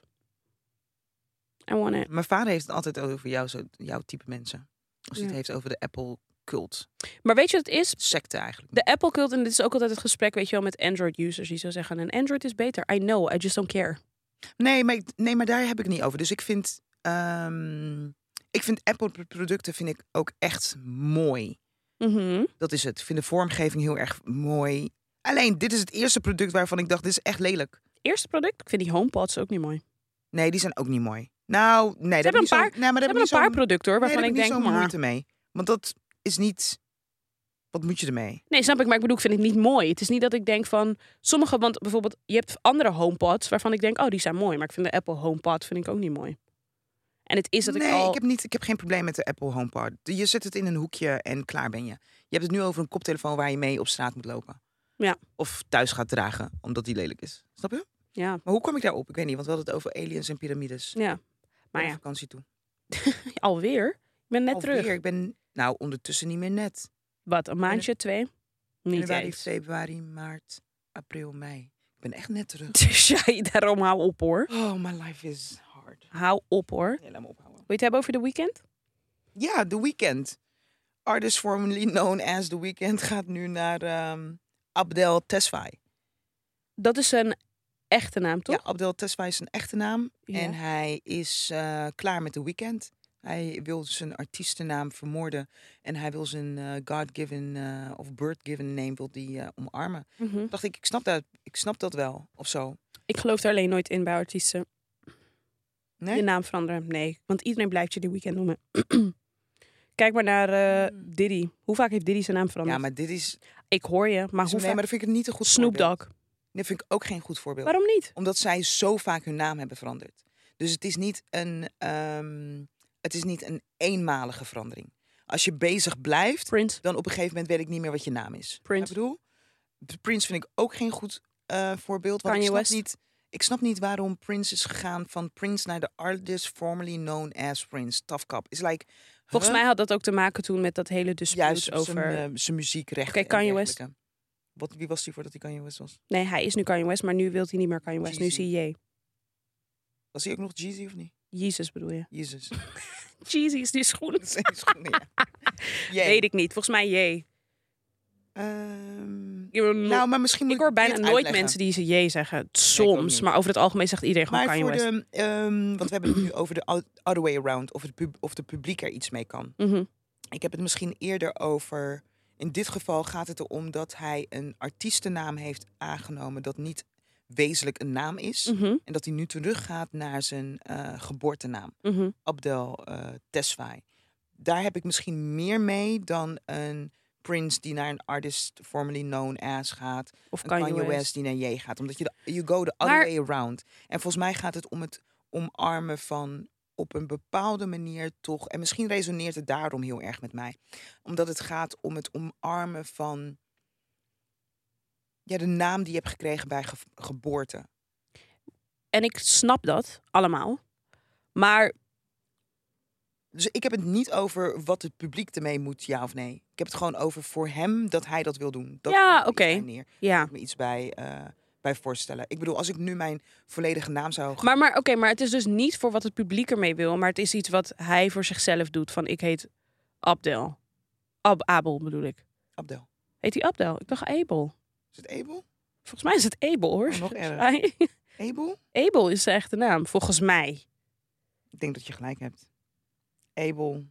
[SPEAKER 2] I want it.
[SPEAKER 1] Mijn vader heeft het altijd over jou, zo, jouw type mensen. Als hij
[SPEAKER 2] Ja.
[SPEAKER 1] het heeft over de Apple-cult.
[SPEAKER 2] Maar weet je wat het is?
[SPEAKER 1] Secte eigenlijk.
[SPEAKER 2] De Apple cult, en dit is ook altijd het gesprek, weet je wel, met Android users die zo zeggen, een Android is beter. I know, I just don't care.
[SPEAKER 1] Nee, maar, ik- nee, maar daar heb ik het niet over. Dus ik vind, ehm, ik vind Apple-producten vind ik ook echt mooi.
[SPEAKER 2] Mhm.
[SPEAKER 1] Dat is het. Ik vind de vormgeving heel erg mooi. Alleen, dit is het eerste product waarvan ik dacht, dit is echt lelijk.
[SPEAKER 2] Eerste product, ik vind die HomePods ook niet mooi.
[SPEAKER 1] Nee, die zijn ook niet mooi. Nou, nee, daar
[SPEAKER 2] hebben
[SPEAKER 1] heb ik
[SPEAKER 2] een
[SPEAKER 1] niet zo- nee, maar
[SPEAKER 2] We
[SPEAKER 1] daar heb ik
[SPEAKER 2] hebben
[SPEAKER 1] niet
[SPEAKER 2] een
[SPEAKER 1] zo'n-
[SPEAKER 2] paar producten hoor,
[SPEAKER 1] nee, daar
[SPEAKER 2] waarvan
[SPEAKER 1] heb
[SPEAKER 2] ik
[SPEAKER 1] niet
[SPEAKER 2] denk, "Hmm,
[SPEAKER 1] zo'n
[SPEAKER 2] maar...
[SPEAKER 1] moeite mee. Want dat is niet... Wat moet je ermee?
[SPEAKER 2] Nee, snap ik, maar ik bedoel, ik vind het niet mooi. Het is niet dat ik denk van sommige, want bijvoorbeeld, je hebt andere HomePods waarvan ik denk, oh, die zijn mooi, maar ik vind de Apple HomePod vind ik ook niet mooi. En het is dat
[SPEAKER 1] nee,
[SPEAKER 2] ik al.
[SPEAKER 1] ik, heb niet, ik heb geen probleem met de Apple HomePod. Je zet het in een hoekje en klaar ben je. Je hebt het nu over een koptelefoon waar je mee op straat moet lopen.
[SPEAKER 2] Ja.
[SPEAKER 1] Of thuis gaat dragen, omdat die lelijk is. Snap je?
[SPEAKER 2] Ja,
[SPEAKER 1] Maar hoe kwam ik daarop? Ik weet niet, want we hadden het over aliens en piramides.
[SPEAKER 2] ja. Maar
[SPEAKER 1] Naar
[SPEAKER 2] ja,
[SPEAKER 1] vakantie toe.
[SPEAKER 2] alweer. Ik ben net
[SPEAKER 1] Alweer,
[SPEAKER 2] terug.
[SPEAKER 1] ik ben nou ondertussen niet meer net.
[SPEAKER 2] Wat, een maandje, twee? Niet
[SPEAKER 1] Januari,
[SPEAKER 2] eens.
[SPEAKER 1] februari, maart, april, mei. Ik ben echt net terug.
[SPEAKER 2] Dus jij, daarom hou op hoor.
[SPEAKER 1] Oh, my life is hard.
[SPEAKER 2] Hou op hoor. Wil
[SPEAKER 1] Ja, laat me ophouden.
[SPEAKER 2] je het hebben over de weekend?
[SPEAKER 1] Ja, The Weeknd. Artist formerly known as The Weeknd gaat nu naar ehm, Abdel Tesfaye.
[SPEAKER 2] Dat is een echte naam, toch?
[SPEAKER 1] Ja, Abdel Tesfaye is zijn echte naam.
[SPEAKER 2] Ja.
[SPEAKER 1] En hij is eh, klaar met The Weeknd. Hij wil zijn artiestennaam vermoorden. En hij wil zijn eh, God-given eh, of birth-given name wil die, eh, omarmen.
[SPEAKER 2] Mhm.
[SPEAKER 1] dacht ik, ik snap, dat, ik snap dat wel. Of zo.
[SPEAKER 2] Ik geloof er alleen nooit in bij artiesten.
[SPEAKER 1] Nee?
[SPEAKER 2] Je naam veranderen, nee. Want iedereen blijft je de weekend noemen. Kijk maar naar eh, Diddy. Hoe vaak heeft Diddy zijn naam veranderd?
[SPEAKER 1] Ja, maar dit is...
[SPEAKER 2] Ik hoor je, maar Ah, hoe
[SPEAKER 1] Dus nee, maar
[SPEAKER 2] vaak...
[SPEAKER 1] dat vind ik niet een goed
[SPEAKER 2] Snoop
[SPEAKER 1] voorbeeld.
[SPEAKER 2] Dogg.
[SPEAKER 1] Dat vind ik ook geen goed voorbeeld.
[SPEAKER 2] Waarom niet?
[SPEAKER 1] Omdat zij zo vaak hun naam hebben veranderd. Dus het is niet een, ehm, het is niet een eenmalige verandering. Als je bezig blijft,
[SPEAKER 2] Prince.
[SPEAKER 1] dan op een gegeven moment weet ik niet meer wat je naam is.
[SPEAKER 2] Prince.
[SPEAKER 1] Ik bedoel, de Prince vind ik ook geen goed eh, voorbeeld. Want
[SPEAKER 2] Kanye
[SPEAKER 1] ik snap
[SPEAKER 2] West.
[SPEAKER 1] niet. Ik snap niet waarom Prince is gegaan van Prince naar de artist formerly known as Prince. Tough Cup. Is like.
[SPEAKER 2] Volgens
[SPEAKER 1] huh?
[SPEAKER 2] mij had dat ook te maken toen met dat hele dispuut
[SPEAKER 1] juist
[SPEAKER 2] over...
[SPEAKER 1] over zijn, muziek muziekrechten.
[SPEAKER 2] Oké,
[SPEAKER 1] en
[SPEAKER 2] Kanye West.
[SPEAKER 1] dergelijke. Wat, wie was hij voordat hij Kanye West was?
[SPEAKER 2] Nee, hij is nu Kanye West, maar nu wil hij niet meer Kanye West. Nu
[SPEAKER 1] Jeezy.
[SPEAKER 2] zie je
[SPEAKER 1] Was hij ook nog Jeezy of niet?
[SPEAKER 2] Jezus bedoel je.
[SPEAKER 1] Jezus.
[SPEAKER 2] Jeezy is die schoen.
[SPEAKER 1] Dat zijn schoenen, ja. Jee.
[SPEAKER 2] Weet ik niet. Volgens mij J.
[SPEAKER 1] Ehm,
[SPEAKER 2] Ik wil no-
[SPEAKER 1] nou, maar misschien moet
[SPEAKER 2] ik hoor
[SPEAKER 1] dit
[SPEAKER 2] bijna nooit
[SPEAKER 1] uitleggen.
[SPEAKER 2] mensen die ze J zeggen.
[SPEAKER 1] ook
[SPEAKER 2] Soms,
[SPEAKER 1] niet.
[SPEAKER 2] maar over het algemeen zegt iedereen gewoon
[SPEAKER 1] Maar
[SPEAKER 2] Kanye
[SPEAKER 1] voor
[SPEAKER 2] West.
[SPEAKER 1] de, ehm, want we hebben het nu over de ou- other way around, of, het pub- of de publiek er iets mee kan.
[SPEAKER 2] Mhm.
[SPEAKER 1] Ik heb het misschien eerder over. In dit geval gaat het erom dat hij een artiestennaam heeft aangenomen dat niet wezenlijk een naam is.
[SPEAKER 2] Mhm.
[SPEAKER 1] En dat hij nu teruggaat naar zijn eh, geboortenaam,
[SPEAKER 2] Mhm.
[SPEAKER 1] Abdel eh Tesfaye. Daar heb ik misschien meer mee dan een Prince die naar een artist formerly known as gaat.
[SPEAKER 2] Of
[SPEAKER 1] Een
[SPEAKER 2] Kanye, West.
[SPEAKER 1] die naar J gaat. Omdat je de, you go the other
[SPEAKER 2] Maar-
[SPEAKER 1] way around. En volgens mij gaat het om het omarmen van op een bepaalde manier toch. En misschien resoneert het daarom heel erg met mij. Omdat het gaat om het omarmen van ja, de naam die je hebt gekregen bij ge- geboorte.
[SPEAKER 2] En ik snap dat allemaal. Maar
[SPEAKER 1] Dus ik heb het niet over wat het publiek ermee moet, ja of nee. Ik heb het gewoon over voor hem dat hij dat wil doen. Dat
[SPEAKER 2] Ja,
[SPEAKER 1] komt er iets
[SPEAKER 2] oké.
[SPEAKER 1] bij neer.
[SPEAKER 2] ja.
[SPEAKER 1] Ik me iets bij, eh, bij voorstellen. Ik bedoel, als ik nu mijn volledige naam zou
[SPEAKER 2] Maar, maar oké, maar het is dus niet voor wat het publiek ermee wil. Maar het is iets wat hij voor zichzelf doet. Van ik heet Abdel. Ab Abel bedoel ik.
[SPEAKER 1] Abdel.
[SPEAKER 2] Heet hij Abdel? Ik dacht Abel.
[SPEAKER 1] Is het Abel?
[SPEAKER 2] Volgens mij is het Abel hoor.
[SPEAKER 1] Oh, nog erger.
[SPEAKER 2] Hij-
[SPEAKER 1] Abel?
[SPEAKER 2] Abel is zijn echte naam, volgens mij.
[SPEAKER 1] Ik denk dat je gelijk hebt. Abel.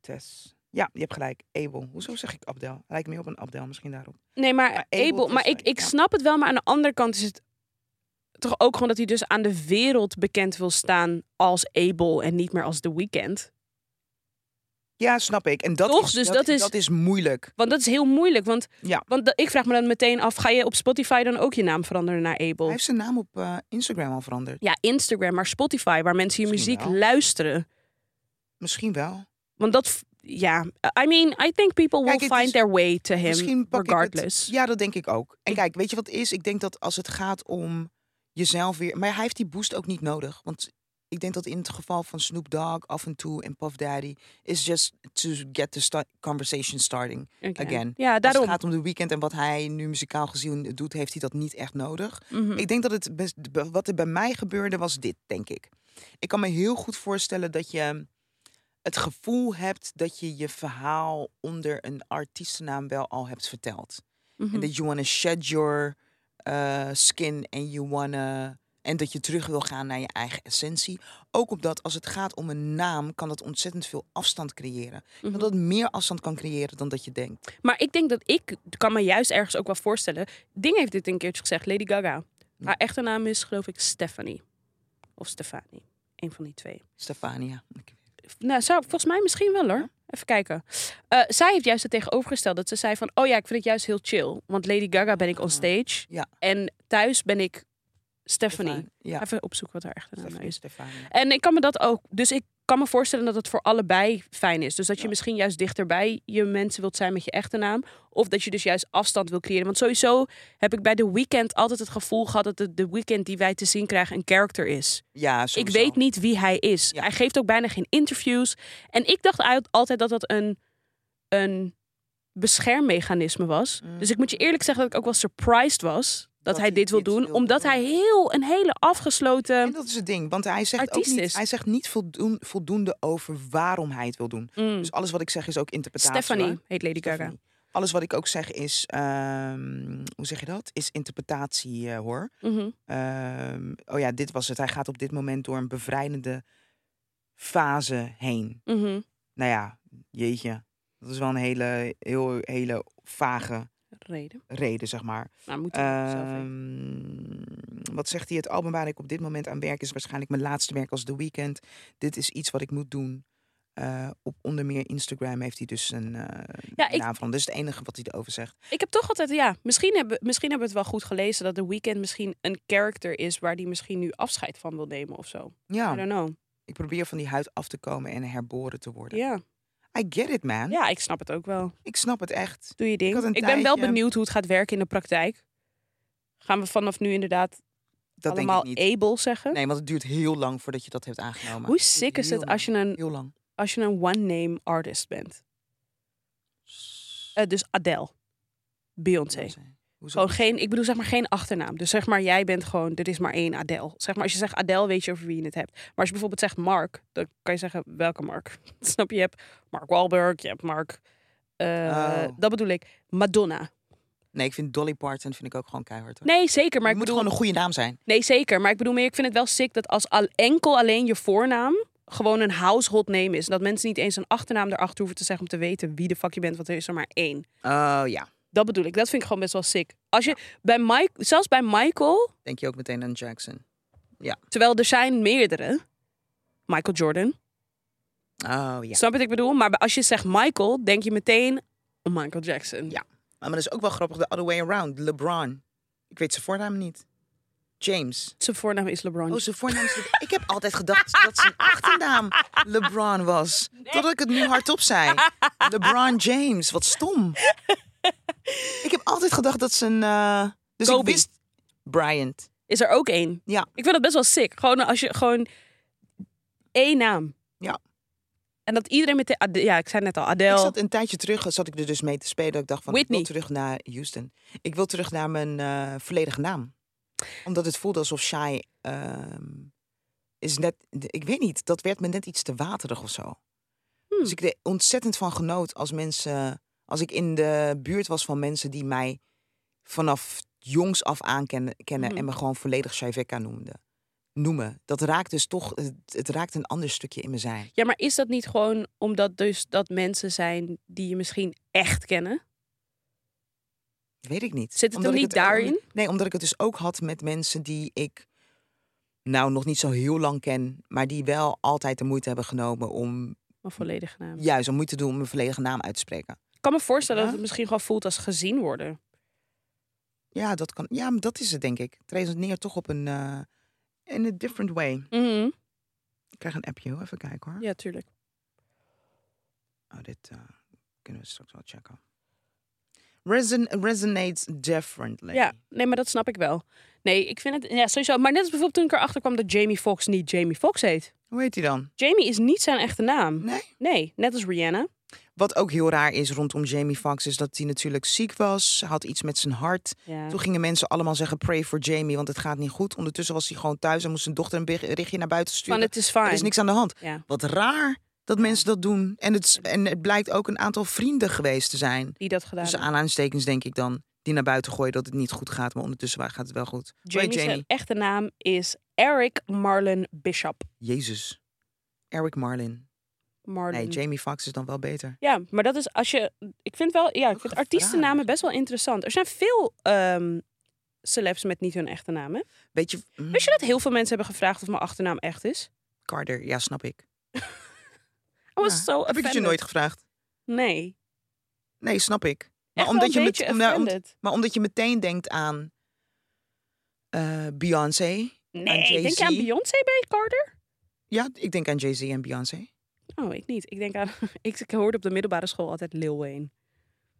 [SPEAKER 1] Tess. Ja, je hebt gelijk. Abel. Hoezo zeg ik Abdel? Lijkt meer op een Abdel, misschien daarop.
[SPEAKER 2] Nee, maar,
[SPEAKER 1] Maar Abel
[SPEAKER 2] Abel,
[SPEAKER 1] is
[SPEAKER 2] maar ik,
[SPEAKER 1] zijn,
[SPEAKER 2] ik
[SPEAKER 1] ja.
[SPEAKER 2] snap het wel. Maar aan de andere kant is het toch ook gewoon dat hij dus aan de wereld bekend wil staan als Abel en niet meer als The Weeknd.
[SPEAKER 1] Ja, snap ik. En dat,
[SPEAKER 2] Toch?
[SPEAKER 1] is,
[SPEAKER 2] Dus
[SPEAKER 1] dat,
[SPEAKER 2] dat is-
[SPEAKER 1] dat is moeilijk.
[SPEAKER 2] Want dat is heel moeilijk. Want,
[SPEAKER 1] Ja.
[SPEAKER 2] want da- ik vraag me dan meteen af, ga je op Spotify dan ook je naam veranderen naar Abel?
[SPEAKER 1] Hij heeft zijn naam op eh, Instagram al veranderd.
[SPEAKER 2] Ja, Instagram, maar Spotify, waar mensen je
[SPEAKER 1] Misschien
[SPEAKER 2] muziek
[SPEAKER 1] wel.
[SPEAKER 2] luisteren.
[SPEAKER 1] Misschien wel.
[SPEAKER 2] Want dat, ja, I mean, I think people will
[SPEAKER 1] Kijk, het
[SPEAKER 2] find
[SPEAKER 1] is-
[SPEAKER 2] their way to him
[SPEAKER 1] Misschien pak ik het-
[SPEAKER 2] regardless.
[SPEAKER 1] Ja, dat denk ik ook. En
[SPEAKER 2] Ik-
[SPEAKER 1] kijk, weet je wat het is? Ik denk dat als het gaat om jezelf weer... Maar hij heeft die boost ook niet nodig. Want ik denk dat in het geval van Snoop Dogg af en toe en Puff Daddy... is just to get the sta- conversation starting.
[SPEAKER 2] Oké.
[SPEAKER 1] again,
[SPEAKER 2] Ja,
[SPEAKER 1] Als
[SPEAKER 2] daarom.
[SPEAKER 1] het gaat om de weekend en wat hij nu muzikaal gezien doet... heeft hij dat niet echt nodig.
[SPEAKER 2] Mhm.
[SPEAKER 1] Ik denk dat het best, be- wat er bij mij gebeurde was dit, denk ik. Ik kan me heel goed voorstellen dat je het gevoel hebt dat je je verhaal onder een artiestennaam wel al hebt verteld.
[SPEAKER 2] Mhm.
[SPEAKER 1] En dat you wanna shed your eh, skin en you wanna... En dat je terug wil gaan naar je eigen essentie. Ook omdat als het gaat om een naam, kan dat ontzettend veel afstand creëren.
[SPEAKER 2] Mhm.
[SPEAKER 1] Dat het meer afstand kan creëren dan dat je denkt.
[SPEAKER 2] Maar ik denk dat ik kan me juist ergens ook wel voorstellen. Ding heeft dit een keertje gezegd, Lady Gaga. Haar echte naam is geloof ik Stephanie. Of Stefanie. Een van die twee.
[SPEAKER 1] Stefania.
[SPEAKER 2] Nou, zou, volgens mij misschien wel hoor. Even kijken. Eh, zij heeft juist het tegenovergesteld. Dat ze zei van, oh ja, ik vind het juist heel chill. Want Lady Gaga ben ik on stage.
[SPEAKER 1] Ah, Ja.
[SPEAKER 2] En thuis ben ik Stephanie.
[SPEAKER 1] Ja,
[SPEAKER 2] Even opzoeken wat haar echte naam
[SPEAKER 1] Stefania.
[SPEAKER 2] is.
[SPEAKER 1] Stefania.
[SPEAKER 2] En ik kan me dat ook. Dus ik kan me voorstellen dat het voor allebei fijn is. Dus dat je
[SPEAKER 1] Ja.
[SPEAKER 2] misschien juist dichterbij je mensen wilt zijn met je echte naam. Of dat je dus juist afstand wil creëren. Want sowieso heb ik bij The Weeknd altijd het gevoel gehad dat de, de Weeknd die wij te zien krijgen een character is.
[SPEAKER 1] Ja,
[SPEAKER 2] Ik
[SPEAKER 1] sowieso.
[SPEAKER 2] weet niet wie hij is.
[SPEAKER 1] Ja.
[SPEAKER 2] Hij geeft ook bijna geen interviews. En ik dacht uit- altijd dat dat een, een beschermmechanisme was.
[SPEAKER 1] Mm.
[SPEAKER 2] Dus ik moet je eerlijk zeggen dat ik ook wel surprised was dat,
[SPEAKER 1] Dat
[SPEAKER 2] hij
[SPEAKER 1] hij
[SPEAKER 2] dit wil
[SPEAKER 1] dit
[SPEAKER 2] doen.
[SPEAKER 1] wil
[SPEAKER 2] omdat
[SPEAKER 1] doen.
[SPEAKER 2] hij heel een hele afgesloten.
[SPEAKER 1] En dat is het ding, want hij zegt
[SPEAKER 2] ehm, Artiest
[SPEAKER 1] ook niet,
[SPEAKER 2] is.
[SPEAKER 1] hij zegt niet voldoen- voldoende over waarom hij het wil doen.
[SPEAKER 2] Mm.
[SPEAKER 1] Dus alles wat ik zeg is ook interpretatie.
[SPEAKER 2] Stephanie
[SPEAKER 1] hoor.
[SPEAKER 2] heet Lady Gaga.
[SPEAKER 1] Stephanie. Alles wat ik ook zeg is, ehm, hoe zeg je dat? Is interpretatie eh, hoor.
[SPEAKER 2] Mhm.
[SPEAKER 1] Ehm, oh ja, dit was het. Hij gaat op dit moment door een bevrijdende fase heen.
[SPEAKER 2] Mhm.
[SPEAKER 1] Nou ja, jeetje. Dat is wel een hele, heel, hele vage
[SPEAKER 2] Reden.
[SPEAKER 1] reden, zeg maar.
[SPEAKER 2] Nou, moet hij zelf weten.
[SPEAKER 1] Ehm, wat zegt hij? Het album waar ik op dit moment aan werk is waarschijnlijk mijn laatste werk als The Weeknd. Dit is iets wat ik moet doen. Eh, op onder meer Instagram heeft hij dus een eh
[SPEAKER 2] Ja, ik-
[SPEAKER 1] naam van. Dat is het enige wat hij erover zegt.
[SPEAKER 2] Ik heb toch altijd, ja, misschien hebben, misschien hebben we het wel goed gelezen dat The Weeknd misschien een character is waar die misschien nu afscheid van wil nemen of zo. I
[SPEAKER 1] Ja,
[SPEAKER 2] don't know.
[SPEAKER 1] ik probeer van die huid af te komen en herboren te worden.
[SPEAKER 2] Ja.
[SPEAKER 1] I get it, man.
[SPEAKER 2] ja, ik snap het ook wel.
[SPEAKER 1] Ik snap het echt.
[SPEAKER 2] Doe je ding.
[SPEAKER 1] had
[SPEAKER 2] Ik,
[SPEAKER 1] een
[SPEAKER 2] ben wel
[SPEAKER 1] tijdje-
[SPEAKER 2] benieuwd hoe het gaat werken in de praktijk. Gaan we vanaf nu inderdaad
[SPEAKER 1] Dat
[SPEAKER 2] allemaal
[SPEAKER 1] denk ik niet.
[SPEAKER 2] able zeggen?
[SPEAKER 1] Nee, want het duurt heel lang voordat je dat hebt aangenomen.
[SPEAKER 2] Hoe
[SPEAKER 1] duurt
[SPEAKER 2] sick is
[SPEAKER 1] heel
[SPEAKER 2] het als je een,
[SPEAKER 1] lang, Heel lang.
[SPEAKER 2] als je een one-name artist bent? Eh, dus Adele. Beyoncé.
[SPEAKER 1] Hoezo?
[SPEAKER 2] Gewoon geen, ik bedoel zeg maar geen achternaam. Dus zeg maar, jij bent gewoon, er is maar één Adele. Zeg maar, als je zegt Adele, weet je over wie je het hebt. Maar als je bijvoorbeeld zegt Mark, dan kan je zeggen welke Mark. Snap je? Je hebt Mark Wahlberg, je hebt Mark. eh,
[SPEAKER 1] Oh.
[SPEAKER 2] Dat bedoel ik. Madonna.
[SPEAKER 1] Nee, ik vind Dolly Parton vind ik ook gewoon keihard. hoor.
[SPEAKER 2] Nee, zeker. Maar
[SPEAKER 1] je
[SPEAKER 2] ik
[SPEAKER 1] moet
[SPEAKER 2] bedoel,
[SPEAKER 1] gewoon een goede naam zijn.
[SPEAKER 2] nee, zeker. Maar ik bedoel meer, ik vind het wel sick dat als al, enkel alleen je voornaam gewoon een household name is. En dat mensen niet eens een achternaam erachter hoeven te zeggen om te weten wie de fuck je bent, want er is er maar één.
[SPEAKER 1] Oh ja.
[SPEAKER 2] Dat bedoel ik. Dat vind ik gewoon best wel sick. Als je bij Mike, zelfs bij Michael,
[SPEAKER 1] Denk je ook meteen aan Jackson.
[SPEAKER 2] Terwijl er zijn meerdere. Michael Jordan.
[SPEAKER 1] Oh ja.
[SPEAKER 2] Snap je wat ik bedoel? Maar als je zegt Michael, denk je meteen aan Michael Jackson.
[SPEAKER 1] Ja. Maar dat is ook wel grappig, the other way around. LeBron. Ik weet zijn voornaam niet. James.
[SPEAKER 2] Zijn voornaam is LeBron.
[SPEAKER 1] Oh, zijn voornaam is... Le- ik heb altijd gedacht dat zijn achternaam LeBron was. Totdat ik het nu hardop zei. LeBron James. Wat stom. Ik heb altijd gedacht dat zijn... eh, Dus
[SPEAKER 2] Kobe.
[SPEAKER 1] ik wist... Bryant.
[SPEAKER 2] Is er ook één?
[SPEAKER 1] Ja.
[SPEAKER 2] Ik vind dat best wel sick. Gewoon als je gewoon één naam.
[SPEAKER 1] Ja.
[SPEAKER 2] En dat iedereen meteen. Ade- ja, ik zei net al.
[SPEAKER 1] Ik
[SPEAKER 2] Adele.
[SPEAKER 1] zat een tijdje terug, zat ik er dus mee te spelen. dat Ik dacht van,
[SPEAKER 2] Whitney.
[SPEAKER 1] ik wil terug naar Houston. Ik wil terug naar mijn eh, volledige naam. Omdat het voelde alsof Shai ehm, is net... Ik weet niet, dat werd me net iets te waterig of zo. Dus ik er ontzettend van genoot als mensen... Als ik in de buurt was van mensen die mij vanaf jongs af aankennen kennen
[SPEAKER 2] Mhm.
[SPEAKER 1] en me gewoon volledig Shaiveka noemden. Noemen. Dat raakt dus toch, het, het raakt een ander stukje in mijn zijn.
[SPEAKER 2] Ja, maar is dat niet gewoon omdat dus dat mensen zijn die je misschien echt kennen?
[SPEAKER 1] Weet ik niet.
[SPEAKER 2] Zit het
[SPEAKER 1] Omdat
[SPEAKER 2] hem
[SPEAKER 1] ik
[SPEAKER 2] niet daarin?
[SPEAKER 1] Nee, omdat ik het dus ook had met mensen die ik nou nog niet zo heel lang ken, maar die wel altijd de moeite hebben genomen om
[SPEAKER 2] Mijn volledige naam.
[SPEAKER 1] juist om moeite te doen om mijn volledige naam uit te spreken.
[SPEAKER 2] Ik kan me voorstellen
[SPEAKER 1] Ja.
[SPEAKER 2] dat het misschien gewoon voelt als gezien worden.
[SPEAKER 1] Ja, dat kan. Ja, maar dat is het denk ik. Het resoneert toch op een eh, in a different way.
[SPEAKER 2] Mhm.
[SPEAKER 1] Ik krijg een appje, hoor. even kijken hoor.
[SPEAKER 2] Ja, tuurlijk.
[SPEAKER 1] Oh, dit eh, kunnen we straks wel checken. Reson resonates differently.
[SPEAKER 2] Ja, nee, maar dat snap ik wel. Nee, ik vind het ja, sowieso. Maar net als bijvoorbeeld toen ik erachter kwam dat Jamie Foxx niet Jamie Foxx heet.
[SPEAKER 1] Hoe heet hij dan?
[SPEAKER 2] Jamie is niet zijn echte naam.
[SPEAKER 1] Nee.
[SPEAKER 2] Nee, net als Rihanna.
[SPEAKER 1] Wat ook heel raar is rondom Jamie Foxx is dat hij natuurlijk ziek was. Had iets met zijn hart.
[SPEAKER 2] Ja.
[SPEAKER 1] Toen gingen mensen allemaal zeggen pray for Jamie, want het gaat niet goed. Ondertussen was hij gewoon thuis en moest zijn dochter een berichtje naar buiten sturen.
[SPEAKER 2] Van het is
[SPEAKER 1] er
[SPEAKER 2] fijn.
[SPEAKER 1] is niks aan de hand.
[SPEAKER 2] Ja.
[SPEAKER 1] Wat raar dat mensen dat doen. En het, is- en het blijkt ook een aantal vrienden geweest te zijn.
[SPEAKER 2] Die dat gedaan.
[SPEAKER 1] Dus aanhalingstekens denk ik dan. Die naar buiten gooien dat het niet goed gaat. Maar ondertussen waar gaat het wel goed. Hoe heet
[SPEAKER 2] Jamie, zijn echte naam is Eric Marlon Bishop.
[SPEAKER 1] Jezus. Eric Marlin.
[SPEAKER 2] Marlon.
[SPEAKER 1] Nee, Jamie Foxx is dan wel beter.
[SPEAKER 2] ja, maar dat is als je. Ik vind wel. Ja, ik vind
[SPEAKER 1] gevraagd.
[SPEAKER 2] artiestennamen best wel interessant. Er zijn veel ehm, celebs met niet hun echte namen.
[SPEAKER 1] Weet je... mm,
[SPEAKER 2] Wist je dat heel veel mensen hebben gevraagd of mijn achternaam echt is?
[SPEAKER 1] Carter, ja, snap ik.
[SPEAKER 2] I was
[SPEAKER 1] Ja.
[SPEAKER 2] zo
[SPEAKER 1] Heb ik het je
[SPEAKER 2] offended.
[SPEAKER 1] nooit gevraagd?
[SPEAKER 2] Nee.
[SPEAKER 1] Nee, snap ik. Maar
[SPEAKER 2] Echt
[SPEAKER 1] omdat
[SPEAKER 2] wel een
[SPEAKER 1] je
[SPEAKER 2] beetje
[SPEAKER 1] met- om daar- om-
[SPEAKER 2] offended.
[SPEAKER 1] Maar omdat je meteen denkt aan eh, Beyoncé.
[SPEAKER 2] Nee, denk je aan
[SPEAKER 1] Jay-Z.
[SPEAKER 2] Beyoncé bij Carter?
[SPEAKER 1] Ja, ik denk aan Jay-Z en Beyoncé.
[SPEAKER 2] Oh, ik niet. Ik denk aan... Ik, ik hoorde op de middelbare school altijd Lil Wayne.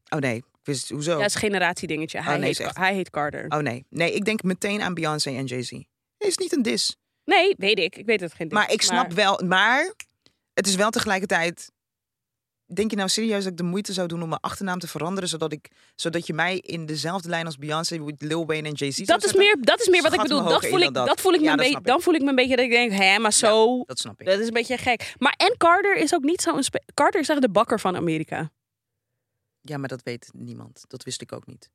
[SPEAKER 1] Oh nee, ik wist, hoezo?
[SPEAKER 2] Ja, is een generatiedingetje. Hij,
[SPEAKER 1] nee,
[SPEAKER 2] heet,
[SPEAKER 1] is echt-
[SPEAKER 2] hij heet Carter.
[SPEAKER 1] Oh nee. Nee, ik denk meteen aan Beyoncé en Jay-Z. Het is niet een dis.
[SPEAKER 2] Nee, weet ik. Ik weet het geen ding
[SPEAKER 1] Maar ik
[SPEAKER 2] is,
[SPEAKER 1] snap wel, maar het is wel tegelijkertijd. Denk je nou serieus dat ik de moeite zou doen om mijn achternaam te veranderen, zodat, ik, zodat je mij in dezelfde lijn als Beyoncé, Lil Wayne en Jay-Z zou
[SPEAKER 2] Dat is,
[SPEAKER 1] zetten?
[SPEAKER 2] meer, dat is meer wat ik
[SPEAKER 1] Schat me
[SPEAKER 2] bedoel.
[SPEAKER 1] hoog
[SPEAKER 2] Dat voel,
[SPEAKER 1] in
[SPEAKER 2] ik,
[SPEAKER 1] dan
[SPEAKER 2] dat.
[SPEAKER 1] dat.
[SPEAKER 2] voel ik me
[SPEAKER 1] Ja,
[SPEAKER 2] een
[SPEAKER 1] dat
[SPEAKER 2] beetje,
[SPEAKER 1] snap ik.
[SPEAKER 2] dan voel ik me een beetje dat ik denk, hè, maar zo...
[SPEAKER 1] Dat snap ik.
[SPEAKER 2] dat is een beetje gek. Maar en Carter is ook niet zo'n... spe- Carter is echt de bakker van Amerika.
[SPEAKER 1] Ja, maar dat weet niemand. Dat wist ik ook niet.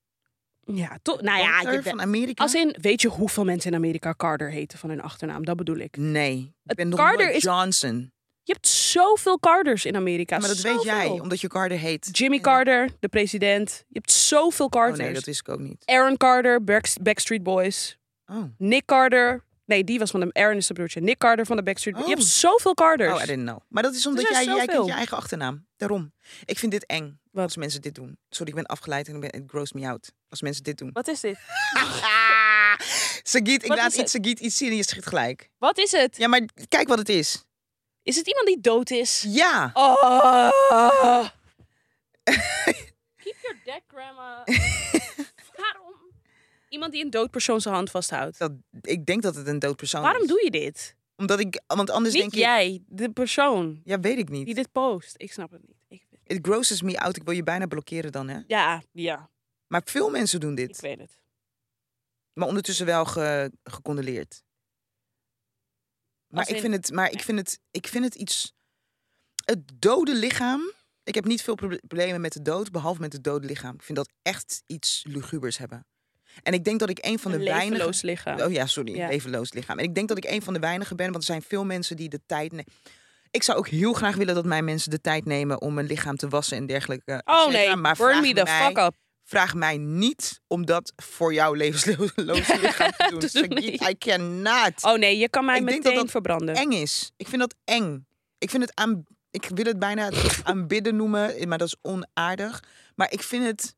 [SPEAKER 2] Ja, toch? Nou ja,
[SPEAKER 1] Hunter
[SPEAKER 2] je,
[SPEAKER 1] van Amerika?
[SPEAKER 2] als in... Weet je hoeveel mensen in Amerika Carter heten van hun achternaam? Dat bedoel ik.
[SPEAKER 1] Nee, ik
[SPEAKER 2] Het
[SPEAKER 1] ben nog
[SPEAKER 2] Carter
[SPEAKER 1] nooit
[SPEAKER 2] is-
[SPEAKER 1] Johnson.
[SPEAKER 2] Je hebt zoveel Carters in Amerika.
[SPEAKER 1] maar dat weet jij,
[SPEAKER 2] Zoveel.
[SPEAKER 1] omdat je Carter heet.
[SPEAKER 2] Jimmy
[SPEAKER 1] Ja.
[SPEAKER 2] Carter, de president. Je hebt zoveel
[SPEAKER 1] Oh
[SPEAKER 2] Carters.
[SPEAKER 1] nee, dat wist ik ook niet.
[SPEAKER 2] Aaron Carter, Back- Backstreet Boys.
[SPEAKER 1] Oh,
[SPEAKER 2] Nick Carter. Nee, die was van de... Aaron is de broertje. Nick Carter van de Backstreet Boys. Je
[SPEAKER 1] Oh.
[SPEAKER 2] hebt zoveel Carters.
[SPEAKER 1] oh I didn't know. Maar dat is omdat
[SPEAKER 2] zijn
[SPEAKER 1] jij, jij
[SPEAKER 2] zoveel.
[SPEAKER 1] kent je eigen achternaam. Daarom. Ik vind dit eng, als mensen dit doen. Sorry, ik ben afgeleid en ik ben, het gross me out. Als mensen dit doen.
[SPEAKER 2] Wat is dit?
[SPEAKER 1] Sagiet, ik
[SPEAKER 2] Wat
[SPEAKER 1] laat
[SPEAKER 2] is het?
[SPEAKER 1] iets, Sagiet iets zien en je schiet gelijk.
[SPEAKER 2] Wat is het?
[SPEAKER 1] Ja, maar kijk wat het is.
[SPEAKER 2] Is het iemand die dood is?
[SPEAKER 1] Ja.
[SPEAKER 2] Oh. Keep your deck, grandma. Waarom? Iemand die een dood persoon zijn hand vasthoudt.
[SPEAKER 1] Dat, ik denk dat het een dood persoon
[SPEAKER 2] Waarom
[SPEAKER 1] is.
[SPEAKER 2] doe je dit?
[SPEAKER 1] Omdat ik, want anders
[SPEAKER 2] Niet
[SPEAKER 1] Dus denk ik...
[SPEAKER 2] jij, de persoon
[SPEAKER 1] Ja, weet ik niet.
[SPEAKER 2] die dit post. Ik snap het niet. Ik,
[SPEAKER 1] It grosses me out. Ik wil je bijna blokkeren dan, hè.
[SPEAKER 2] ja, ja,
[SPEAKER 1] Maar veel mensen doen
[SPEAKER 2] ik
[SPEAKER 1] dit.
[SPEAKER 2] weet het.
[SPEAKER 1] Maar ondertussen wel ge, gecondoleerd. Maar,
[SPEAKER 2] Als
[SPEAKER 1] ik
[SPEAKER 2] in-
[SPEAKER 1] vind, het, maar ik, vind het, ik vind het iets... Het dode lichaam... Ik heb niet veel proble- problemen met de dood, behalve met het dode lichaam. Ik vind dat echt iets lugubers hebben. En ik denk dat ik een van de
[SPEAKER 2] een
[SPEAKER 1] weinige...
[SPEAKER 2] levenloos lichaam.
[SPEAKER 1] Oh ja, sorry,
[SPEAKER 2] Ja.
[SPEAKER 1] een levenloos lichaam. En ik denk dat ik een van de weinigen ben, want er zijn veel mensen die de tijd nemen. Ik zou ook heel graag willen dat mijn mensen de tijd nemen om een lichaam te wassen en dergelijke. et
[SPEAKER 2] Oh
[SPEAKER 1] cetera,
[SPEAKER 2] nee,
[SPEAKER 1] maar
[SPEAKER 2] burn
[SPEAKER 1] vraag
[SPEAKER 2] me the
[SPEAKER 1] mij,
[SPEAKER 2] fuck up.
[SPEAKER 1] Vraag mij niet om dat voor jouw levensloos lichaam te doen.
[SPEAKER 2] Te
[SPEAKER 1] Sagitt,
[SPEAKER 2] doen, nee.
[SPEAKER 1] I cannot.
[SPEAKER 2] Oh nee, je kan mij
[SPEAKER 1] Ik denk
[SPEAKER 2] meteen
[SPEAKER 1] dat dat
[SPEAKER 2] verbranden.
[SPEAKER 1] Eng is. Ik vind dat eng. Ik vind het aan... Ik wil het bijna aanbidden noemen, maar dat is onaardig. Maar ik vind het...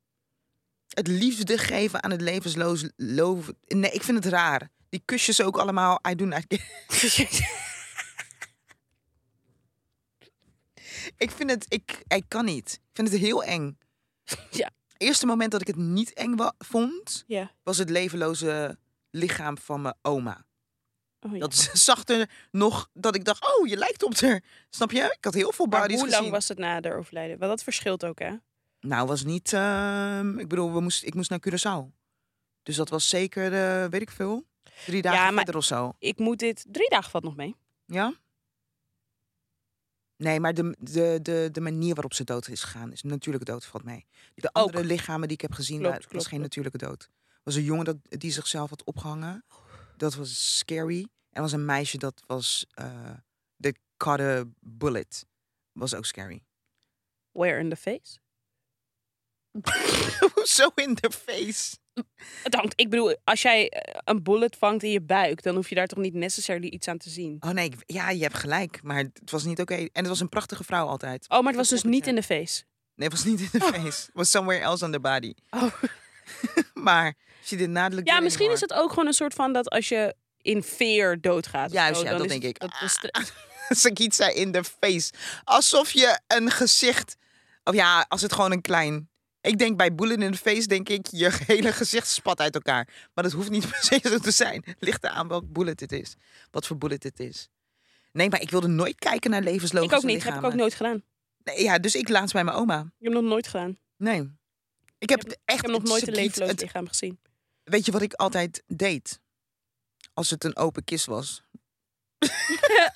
[SPEAKER 1] Het liefde geven aan het levensloos... Lo, nee, ik vind het raar. Die kusjes ook allemaal. I do not Ik vind het, ik, ik kan niet. Ik vind het heel eng.
[SPEAKER 2] Ja.
[SPEAKER 1] Eerste moment dat ik het niet eng wa- vond,
[SPEAKER 2] Ja.
[SPEAKER 1] was het levenloze lichaam van mijn oma.
[SPEAKER 2] Oh, ja.
[SPEAKER 1] Dat zag er nog dat ik dacht, oh, je lijkt op haar. Snap je? Ik had heel veel
[SPEAKER 2] Maar
[SPEAKER 1] bodies
[SPEAKER 2] hoe
[SPEAKER 1] gezien.
[SPEAKER 2] lang was het na haar overlijden? Want dat verschilt ook, hè?
[SPEAKER 1] Nou, was niet. ehm, ik bedoel, we moest, ik moest naar Curaçao. Dus dat was zeker, eh, weet ik veel, drie dagen
[SPEAKER 2] maar-
[SPEAKER 1] verder of zo.
[SPEAKER 2] Ik moet dit drie dagen valt nog mee.
[SPEAKER 1] Ja? Nee, maar de, de, de, de manier waarop ze dood is gegaan is natuurlijke dood valt mee. De
[SPEAKER 2] Ook.
[SPEAKER 1] andere lichamen die ik heb gezien,
[SPEAKER 2] Klopt,
[SPEAKER 1] daar
[SPEAKER 2] klopt,
[SPEAKER 1] was geen
[SPEAKER 2] klopt.
[SPEAKER 1] natuurlijke dood. Er was een jongen dat, die zichzelf had opgehangen. Dat was scary. En er was een meisje dat was eh, de caught a bullet. Was ook scary.
[SPEAKER 2] Where in the face?
[SPEAKER 1] Zo in de face.
[SPEAKER 2] Het hangt, ik bedoel, als jij eh, een bullet vangt in je buik, dan hoef je daar toch niet necessarily iets aan te zien.
[SPEAKER 1] Oh nee, ik- ja, je hebt gelijk. Maar het was niet oké. En het was een prachtige vrouw altijd.
[SPEAKER 2] Oh, maar het was dus
[SPEAKER 1] Goed,
[SPEAKER 2] niet
[SPEAKER 1] ja.
[SPEAKER 2] in de face.
[SPEAKER 1] Nee, het was niet in de face. Het was somewhere else on the body.
[SPEAKER 2] Oh.
[SPEAKER 1] Maar she did not look
[SPEAKER 2] Ja,
[SPEAKER 1] good
[SPEAKER 2] misschien is
[SPEAKER 1] anymore.
[SPEAKER 2] het ook gewoon een soort van dat als je in fear doodgaat. of
[SPEAKER 1] Juist,
[SPEAKER 2] zo,
[SPEAKER 1] ja,
[SPEAKER 2] dan
[SPEAKER 1] dat
[SPEAKER 2] is
[SPEAKER 1] denk ik.
[SPEAKER 2] dat is de-
[SPEAKER 1] Sakitsa in de face. Alsof je een gezicht Of ja, als het gewoon een klein... Ik denk bij boelen in de face, denk ik, je hele gezicht spat uit elkaar. Maar dat hoeft niet per se zo te zijn. Ligt eraan welk bullet het is. Wat voor bullet het is. Nee, maar ik wilde nooit kijken naar levenslogische
[SPEAKER 2] ik ook niet. Heb
[SPEAKER 1] lichamen.
[SPEAKER 2] ik ook nooit gedaan.
[SPEAKER 1] Nee, ja, dus ik laatst bij mijn oma.
[SPEAKER 2] Ik heb nog nooit gedaan.
[SPEAKER 1] Nee. Ik heb, echt
[SPEAKER 2] Ik heb nog
[SPEAKER 1] het
[SPEAKER 2] nooit een
[SPEAKER 1] circuit-
[SPEAKER 2] leefloos
[SPEAKER 1] het-
[SPEAKER 2] lichaam gezien.
[SPEAKER 1] Weet je wat ik altijd deed? Als het een open kist was.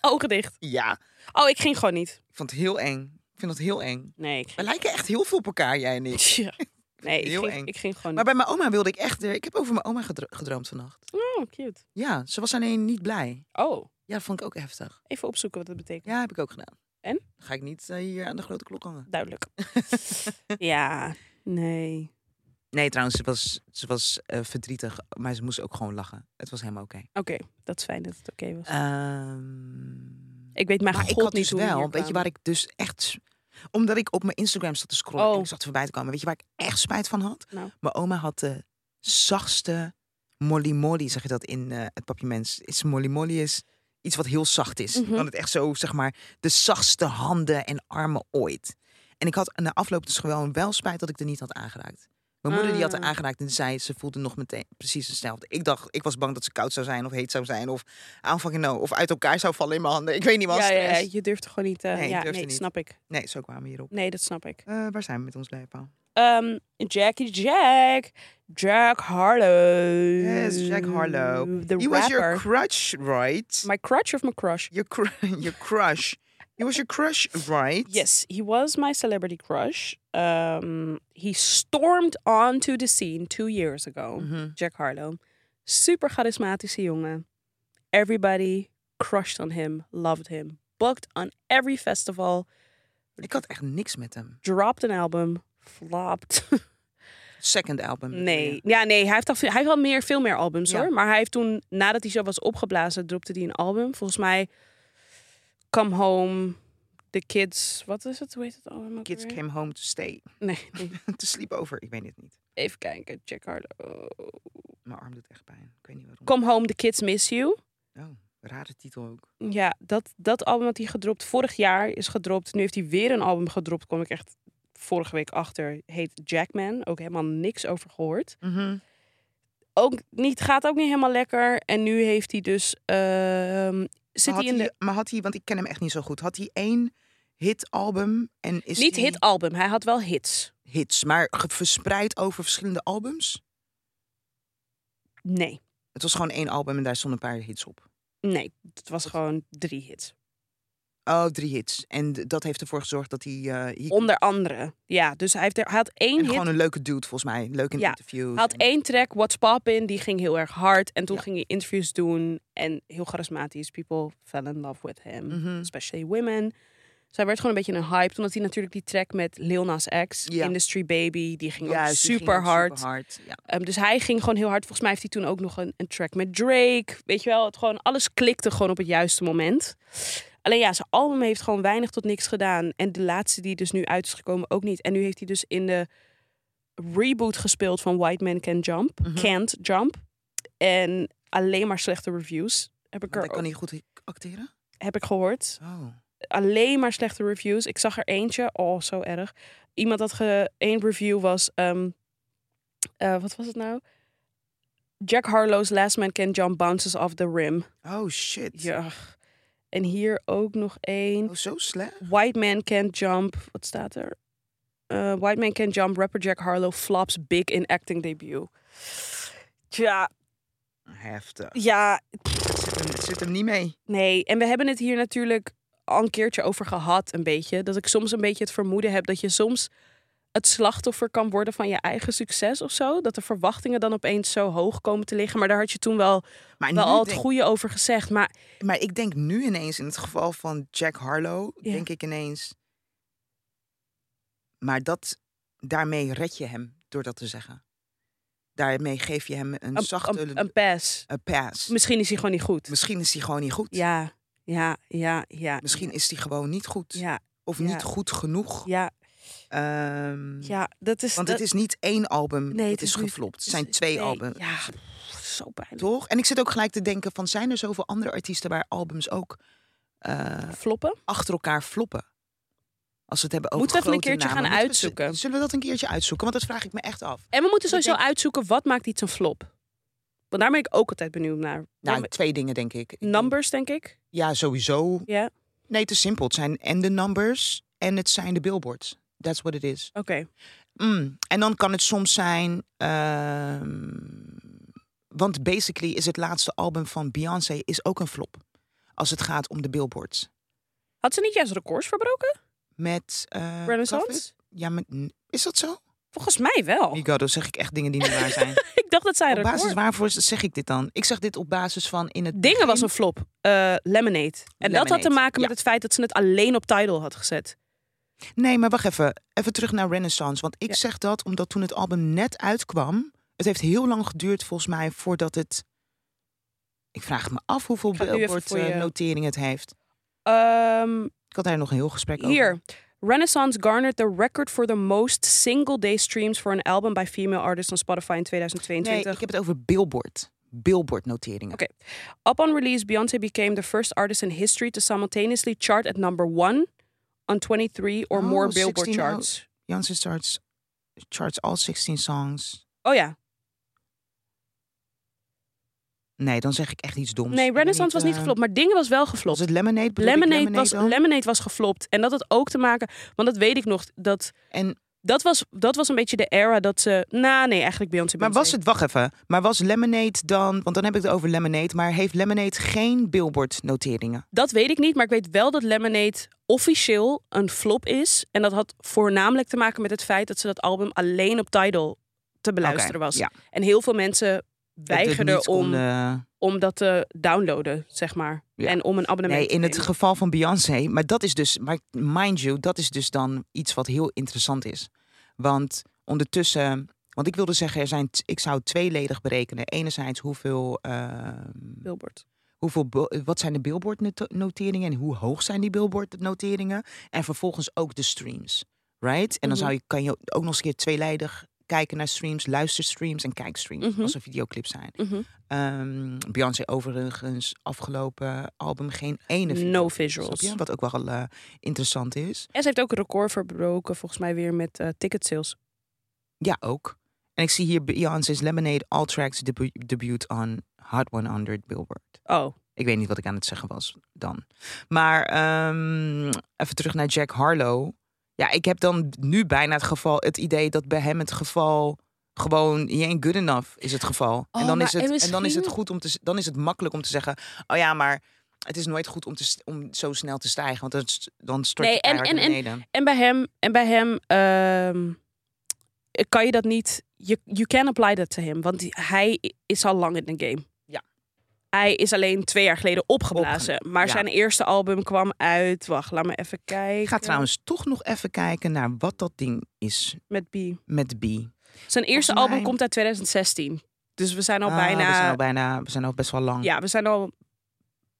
[SPEAKER 2] Ogen dicht.
[SPEAKER 1] Ja,
[SPEAKER 2] Oh, ik ging gewoon niet.
[SPEAKER 1] ik vond het heel eng. Ik vind dat heel eng.
[SPEAKER 2] Nee, ik
[SPEAKER 1] We
[SPEAKER 2] ging...
[SPEAKER 1] lijken echt heel veel op elkaar, jij en ik.
[SPEAKER 2] Tja. Nee, ik
[SPEAKER 1] Heel
[SPEAKER 2] ging,
[SPEAKER 1] eng.
[SPEAKER 2] ik ging gewoon
[SPEAKER 1] Maar
[SPEAKER 2] niet.
[SPEAKER 1] bij mijn oma wilde ik echt... eh, Ik heb over mijn oma gedro- gedroomd vannacht.
[SPEAKER 2] Oh, cute.
[SPEAKER 1] Ja, ze was alleen niet blij.
[SPEAKER 2] Oh,
[SPEAKER 1] Ja, dat vond ik ook heftig.
[SPEAKER 2] even opzoeken wat dat betekent.
[SPEAKER 1] Ja, heb ik ook gedaan.
[SPEAKER 2] En?
[SPEAKER 1] Dan ga ik niet eh, hier aan de grote klok hangen.
[SPEAKER 2] Duidelijk. ja, nee.
[SPEAKER 1] Nee, trouwens, ze was, ze was eh, verdrietig. Maar ze moest ook gewoon lachen. Het was helemaal oké.
[SPEAKER 2] Oké, dat is fijn dat het oké was.
[SPEAKER 1] Ehm,
[SPEAKER 2] Ik weet mijn
[SPEAKER 1] Maar
[SPEAKER 2] god
[SPEAKER 1] ik had
[SPEAKER 2] niet
[SPEAKER 1] dus
[SPEAKER 2] hoe we
[SPEAKER 1] wel,
[SPEAKER 2] hier
[SPEAKER 1] weet je
[SPEAKER 2] kwamen.
[SPEAKER 1] waar ik dus echt... Omdat ik op mijn Instagram zat te scrollen en
[SPEAKER 2] Oh.
[SPEAKER 1] ik zag er voorbij te komen. Weet je waar ik echt spijt van had?
[SPEAKER 2] Nou.
[SPEAKER 1] Mijn oma had de zachtste molly molly, zeg je dat in eh, het papiermens. Is molly molly is iets wat heel zacht is.
[SPEAKER 2] Mhm.
[SPEAKER 1] Dan het echt zo, zeg maar, de zachtste handen en armen ooit. En ik had na afloop dus gewoon wel spijt dat ik er niet had aangeraakt. Mijn moeder die had er
[SPEAKER 2] Ah.
[SPEAKER 1] aangeraakt en zei, ze voelde nog meteen precies hetzelfde. Ik dacht, ik was bang dat ze koud zou zijn of heet zou zijn of aanvang no, of uit elkaar zou vallen in mijn handen. Ik weet niet wat.
[SPEAKER 2] ja, ja,
[SPEAKER 1] stress.
[SPEAKER 2] ja, je durft er gewoon niet. eh,
[SPEAKER 1] Nee, ik
[SPEAKER 2] ja,
[SPEAKER 1] durfde
[SPEAKER 2] nee,
[SPEAKER 1] niet.
[SPEAKER 2] snap ik.
[SPEAKER 1] Nee, zo kwamen we hierop.
[SPEAKER 2] Nee, dat snap ik.
[SPEAKER 1] Eh, waar zijn we met ons lijf aan?
[SPEAKER 2] Ehm, Jackie Jack. Jack Harlow.
[SPEAKER 1] Yes, Jack Harlow.
[SPEAKER 2] The
[SPEAKER 1] He was your
[SPEAKER 2] rapper.
[SPEAKER 1] crush, right?
[SPEAKER 2] My crutch of my crush?
[SPEAKER 1] Your, cr- your crush. He was your crush, right?
[SPEAKER 2] Yes, he was my celebrity crush. Um, he stormed onto the scene two years ago.
[SPEAKER 1] Mhm.
[SPEAKER 2] Jack Harlow. Super charismatische jongen. Everybody crushed on him, loved him. Booked on every festival,
[SPEAKER 1] Ik had echt niks met hem.
[SPEAKER 2] dropped an album, flopped.
[SPEAKER 1] Mm, Second album. bedoel
[SPEAKER 2] nee,
[SPEAKER 1] je?
[SPEAKER 2] ja, nee, hij heeft al, veel- hij heeft al meer, veel meer albums
[SPEAKER 1] Ja.
[SPEAKER 2] hoor. Maar hij heeft toen, nadat hij zo was opgeblazen, dropte hij een album. Volgens mij Come Home, The Kids, wat is het? Hoe heet het album? ook
[SPEAKER 1] Kids
[SPEAKER 2] alweer?
[SPEAKER 1] came home to stay.
[SPEAKER 2] Nee, nee.
[SPEAKER 1] to sleep over. Ik weet het niet.
[SPEAKER 2] even kijken, Jack Harlow.
[SPEAKER 1] Mijn arm doet echt pijn. Ik weet niet waarom.
[SPEAKER 2] Come Home, The Kids Miss You.
[SPEAKER 1] Oh, rare titel ook.
[SPEAKER 2] Ja, dat, dat album had hij gedropt. Vorig jaar is gedropt. Nu heeft hij weer een album gedropt. Kom ik echt vorige week achter. Heet Jackman. Ook helemaal niks over gehoord.
[SPEAKER 1] Mm-hmm.
[SPEAKER 2] Ook niet, gaat ook niet helemaal lekker. En nu heeft hij dus... ehm,
[SPEAKER 1] Maar,
[SPEAKER 2] zit
[SPEAKER 1] had
[SPEAKER 2] hij in de...
[SPEAKER 1] hij, maar had hij, want ik ken hem echt niet zo goed. Had hij één hit album en is
[SPEAKER 2] Niet
[SPEAKER 1] hij-
[SPEAKER 2] hit album. Hij had wel hits.
[SPEAKER 1] hits, maar ge- verspreid over verschillende albums?
[SPEAKER 2] Nee.
[SPEAKER 1] Het was gewoon één album en daar stonden een paar hits op.
[SPEAKER 2] Nee. Het was gewoon drie hits.
[SPEAKER 1] Oh, drie hits. En d- dat heeft ervoor gezorgd dat hij... eh, hier-
[SPEAKER 2] Onder andere. Ja, dus hij, heeft er, hij had één
[SPEAKER 1] en
[SPEAKER 2] hit.
[SPEAKER 1] gewoon een leuke dude, volgens mij. Leuk in
[SPEAKER 2] Ja,
[SPEAKER 1] interviews.
[SPEAKER 2] Hij had
[SPEAKER 1] en-
[SPEAKER 2] één track, What's Poppin', die ging heel erg hard. En toen
[SPEAKER 1] Ja.
[SPEAKER 2] ging hij interviews doen. En heel charismatisch. People fell in love with him.
[SPEAKER 1] Mhm.
[SPEAKER 2] Especially women. Dus hij werd gewoon een beetje een hype. Omdat hij natuurlijk die track met Lil Nas X,
[SPEAKER 1] Ja.
[SPEAKER 2] Industry Baby, die ging ook
[SPEAKER 1] Juist, die ging
[SPEAKER 2] super
[SPEAKER 1] ook
[SPEAKER 2] hard.
[SPEAKER 1] superhard, Ja.
[SPEAKER 2] Ehm, dus hij ging gewoon heel hard. Volgens mij heeft hij toen ook nog een, een track met Drake. Weet je wel, het gewoon, alles klikte gewoon op het juiste moment. Alleen ja, zijn album heeft gewoon weinig tot niks gedaan. En de laatste die dus nu uit is gekomen ook niet. En nu heeft hij dus in de reboot gespeeld van White Man Can Jump.
[SPEAKER 1] Mhm.
[SPEAKER 2] Can't Jump. En alleen maar slechte reviews heb
[SPEAKER 1] Want
[SPEAKER 2] ik, er,
[SPEAKER 1] hij kan
[SPEAKER 2] ook-
[SPEAKER 1] niet goed acteren?
[SPEAKER 2] heb ik gehoord
[SPEAKER 1] Oh.
[SPEAKER 2] alleen maar slechte reviews. Ik zag er eentje, oh zo erg. Iemand had ge, één review was, ehm, eh, wat was het nou? Jack Harlow's Last Man Can Jump bounces off the rim.
[SPEAKER 1] Oh, shit.
[SPEAKER 2] Ja. En hier ook nog één.
[SPEAKER 1] Oh, zo slecht.
[SPEAKER 2] White Man Can Jump. Wat staat er? Eh, White Man Can Jump. Rapper Jack Harlow flops big in acting debut. Tja,
[SPEAKER 1] Heftig.
[SPEAKER 2] ja,
[SPEAKER 1] Het zit hem, het zit hem niet mee.
[SPEAKER 2] Nee, en we hebben het hier natuurlijk al een keertje over gehad, een beetje. Dat ik soms een beetje het vermoeden heb dat je soms het slachtoffer kan worden van je eigen succes of zo. Dat de verwachtingen dan opeens zo hoog komen te liggen. Maar daar had je toen wel,
[SPEAKER 1] Maar, nu
[SPEAKER 2] wel al het
[SPEAKER 1] denk-
[SPEAKER 2] goede over gezegd. Maar
[SPEAKER 1] maar ik denk nu ineens, in het geval van Jack Harlow,
[SPEAKER 2] Ja.
[SPEAKER 1] denk ik ineens... Maar dat, daarmee red je hem, door dat te zeggen. Daarmee geef je hem een,
[SPEAKER 2] een,
[SPEAKER 1] zachte
[SPEAKER 2] een, een pass.
[SPEAKER 1] een eh, pass.
[SPEAKER 2] Misschien is hij gewoon niet goed.
[SPEAKER 1] Misschien is hij gewoon niet goed.
[SPEAKER 2] Ja, ja, ja, ja.
[SPEAKER 1] Misschien is die gewoon niet goed.
[SPEAKER 2] Ja,
[SPEAKER 1] Of
[SPEAKER 2] ja.
[SPEAKER 1] niet goed genoeg.
[SPEAKER 2] ja,
[SPEAKER 1] Ehm,
[SPEAKER 2] ja. Dat is...
[SPEAKER 1] Want
[SPEAKER 2] dat,
[SPEAKER 1] het is niet één album.
[SPEAKER 2] Nee,
[SPEAKER 1] Nee,
[SPEAKER 2] het
[SPEAKER 1] het
[SPEAKER 2] is
[SPEAKER 1] is
[SPEAKER 2] niet-
[SPEAKER 1] geflopt. Het
[SPEAKER 2] is-
[SPEAKER 1] zijn twee
[SPEAKER 2] nee,
[SPEAKER 1] albums.
[SPEAKER 2] Ja, pff, zo pijnlijk.
[SPEAKER 1] Toch? En ik zit ook gelijk te denken: van zijn er zoveel andere artiesten waar albums ook eh,
[SPEAKER 2] Floppen?
[SPEAKER 1] achter elkaar floppen? Als we het hebben over
[SPEAKER 2] Moeten we even een
[SPEAKER 1] grote
[SPEAKER 2] keertje gaan
[SPEAKER 1] namen, moeten we-
[SPEAKER 2] uitzoeken?
[SPEAKER 1] Zullen we dat een keertje uitzoeken? Want dat vraag ik me echt af.
[SPEAKER 2] En we moeten
[SPEAKER 1] Ik denk-
[SPEAKER 2] sowieso uitzoeken wat maakt iets een flop. Want daar ben ik ook altijd benieuwd naar.
[SPEAKER 1] Nou,
[SPEAKER 2] Ja,
[SPEAKER 1] twee dingen denk ik. Ik denk-
[SPEAKER 2] Numbers, denk ik.
[SPEAKER 1] Ja, sowieso.
[SPEAKER 2] Ja,
[SPEAKER 1] Nee, te simpel. Het zijn en de numbers en het zijn de billboards. That's what it is.
[SPEAKER 2] oké.
[SPEAKER 1] Mm. En dan kan het soms zijn. ehm, want basically is het laatste album van Beyoncé is ook een flop. Als het gaat om de billboards.
[SPEAKER 2] Had ze niet juist records verbroken?
[SPEAKER 1] Met. eh, Covet?
[SPEAKER 2] Renaissance?
[SPEAKER 1] Ja, maar n- is dat zo?
[SPEAKER 2] Volgens mij wel.
[SPEAKER 1] Nico, dan zeg ik echt dingen die niet waar zijn.
[SPEAKER 2] ik dacht dat zij
[SPEAKER 1] op basis
[SPEAKER 2] records...
[SPEAKER 1] waarvoor zeg ik dit dan? Ik zeg dit op basis van in het.
[SPEAKER 2] Dingen was
[SPEAKER 1] begin-
[SPEAKER 2] een flop. Eh, Lemonade. En dat had te
[SPEAKER 1] Lemonade,
[SPEAKER 2] maken met
[SPEAKER 1] ja.
[SPEAKER 2] het feit dat ze het alleen op Tidal had gezet.
[SPEAKER 1] Nee, maar wacht even. Even terug naar Renaissance. Want ik
[SPEAKER 2] Ja.
[SPEAKER 1] zeg dat omdat toen het album net uitkwam. Het heeft heel lang geduurd volgens mij voordat het. Ik vraag me af hoeveel
[SPEAKER 2] ga nu even voor je-
[SPEAKER 1] billboard-notering het heeft.
[SPEAKER 2] Ehm,
[SPEAKER 1] Ik had daar nog een heel gesprek over.
[SPEAKER 2] hier. Renaissance garnered the record for the most single day streams for an album by female artists on Spotify in 2022.
[SPEAKER 1] Nee, ik heb het over billboard. Billboard-noteringen.
[SPEAKER 2] Oké. Upon release, Beyoncé became the first artist in history to simultaneously chart at number one on 23 or
[SPEAKER 1] Oh,
[SPEAKER 2] more Billboard
[SPEAKER 1] 16
[SPEAKER 2] charts.
[SPEAKER 1] Janssen starts, charts all 16 songs.
[SPEAKER 2] Oh ja,
[SPEAKER 1] Nee, dan zeg ik echt iets doms.
[SPEAKER 2] nee,
[SPEAKER 1] Ik ben
[SPEAKER 2] Renaissance was niet
[SPEAKER 1] eh,
[SPEAKER 2] geflopt, maar dingen was wel
[SPEAKER 1] Was
[SPEAKER 2] geflopt.
[SPEAKER 1] het Dus Lemonade? Bedoel ik
[SPEAKER 2] Lemonade, was,
[SPEAKER 1] dan?
[SPEAKER 2] Lemonade was geflopt. En dat had ook te maken, want dat weet ik nog, dat,
[SPEAKER 1] En
[SPEAKER 2] dat, was, dat was een beetje de era dat ze... Nou, nee, eigenlijk Beyoncé.
[SPEAKER 1] Maar
[SPEAKER 2] Beyoncé.
[SPEAKER 1] was het, wacht even, maar was Lemonade dan, want dan heb ik het over Lemonade, maar heeft Lemonade geen billboard-noteringen?
[SPEAKER 2] Dat weet ik niet, maar ik weet wel dat Lemonade officieel een flop is. En dat had voornamelijk te maken met het feit dat ze dat album alleen op Tidal te beluisteren
[SPEAKER 1] Oké,
[SPEAKER 2] was.
[SPEAKER 1] ja.
[SPEAKER 2] En heel veel mensen
[SPEAKER 1] Dat het
[SPEAKER 2] weigerden
[SPEAKER 1] niet eh,
[SPEAKER 2] om,
[SPEAKER 1] konden-
[SPEAKER 2] om dat te downloaden, zeg maar.
[SPEAKER 1] Ja.
[SPEAKER 2] En om een abonnement
[SPEAKER 1] Nee,
[SPEAKER 2] te
[SPEAKER 1] in het
[SPEAKER 2] nemen.
[SPEAKER 1] geval van Beyoncé, maar dat is dus, maar mind you, dat is dus dan iets wat heel interessant is. Want ondertussen, want ik wilde zeggen, er zijn, t- ik zou tweeledig berekenen. Enerzijds hoeveel, eh,
[SPEAKER 2] Billboard.
[SPEAKER 1] hoeveel bu- wat zijn de billboard-noteringen en hoe hoog zijn die billboard-noteringen? En vervolgens ook de streams, right? En dan zou je, kan je ook nog eens een keer tweeledig kijken naar streams, luisterstreams en kijkstreams
[SPEAKER 2] Mhm.
[SPEAKER 1] als er videoclips zijn.
[SPEAKER 2] Mhm.
[SPEAKER 1] Ehm, Beyoncé overigens afgelopen album geen ene video.
[SPEAKER 2] No
[SPEAKER 1] Snap
[SPEAKER 2] visuals.
[SPEAKER 1] je? Wat ook wel eh, interessant is.
[SPEAKER 2] En ze heeft ook een record verbroken, volgens mij weer met eh ticket sales.
[SPEAKER 1] Ja, ook. En ik zie hier Beyoncé's Lemonade All Tracks debu- debuut on Hot 100 Billboard.
[SPEAKER 2] Oh,
[SPEAKER 1] Ik weet niet wat ik aan het zeggen was dan. Maar ehm, even terug naar Jack Harlow. Ja, ik heb dan nu bijna het geval, het idee dat bij hem het geval gewoon je ain't good enough is het geval.
[SPEAKER 2] Oh,
[SPEAKER 1] en dan is
[SPEAKER 2] maar-
[SPEAKER 1] het
[SPEAKER 2] en
[SPEAKER 1] en dan is het
[SPEAKER 2] misschien-
[SPEAKER 1] goed om te z- dan is het makkelijk om te zeggen, oh ja, maar het is nooit goed om, te, st- om zo snel te stijgen, want dan, st- dan stort
[SPEAKER 2] Nee,
[SPEAKER 1] je
[SPEAKER 2] en-
[SPEAKER 1] keihard
[SPEAKER 2] en-
[SPEAKER 1] naar
[SPEAKER 2] en-
[SPEAKER 1] beneden.
[SPEAKER 2] En bij hem, en bij hem ehm, kan je dat niet. You, you can apply that to him. Want hij is al lang in de game.
[SPEAKER 1] Ja.
[SPEAKER 2] Hij is alleen twee jaar geleden opgeblazen. maar
[SPEAKER 1] ja.
[SPEAKER 2] zijn eerste album kwam uit. Wacht, laat me even kijken.
[SPEAKER 1] Ik ga trouwens toch nog even kijken naar wat dat ding is
[SPEAKER 2] Met B.
[SPEAKER 1] met B.
[SPEAKER 2] Zijn eerste
[SPEAKER 1] mij-
[SPEAKER 2] album komt uit 2016. Dus we zijn al
[SPEAKER 1] Ah,
[SPEAKER 2] bijna.
[SPEAKER 1] We zijn al bijna, we zijn al best wel lang.
[SPEAKER 2] Ja, we zijn al.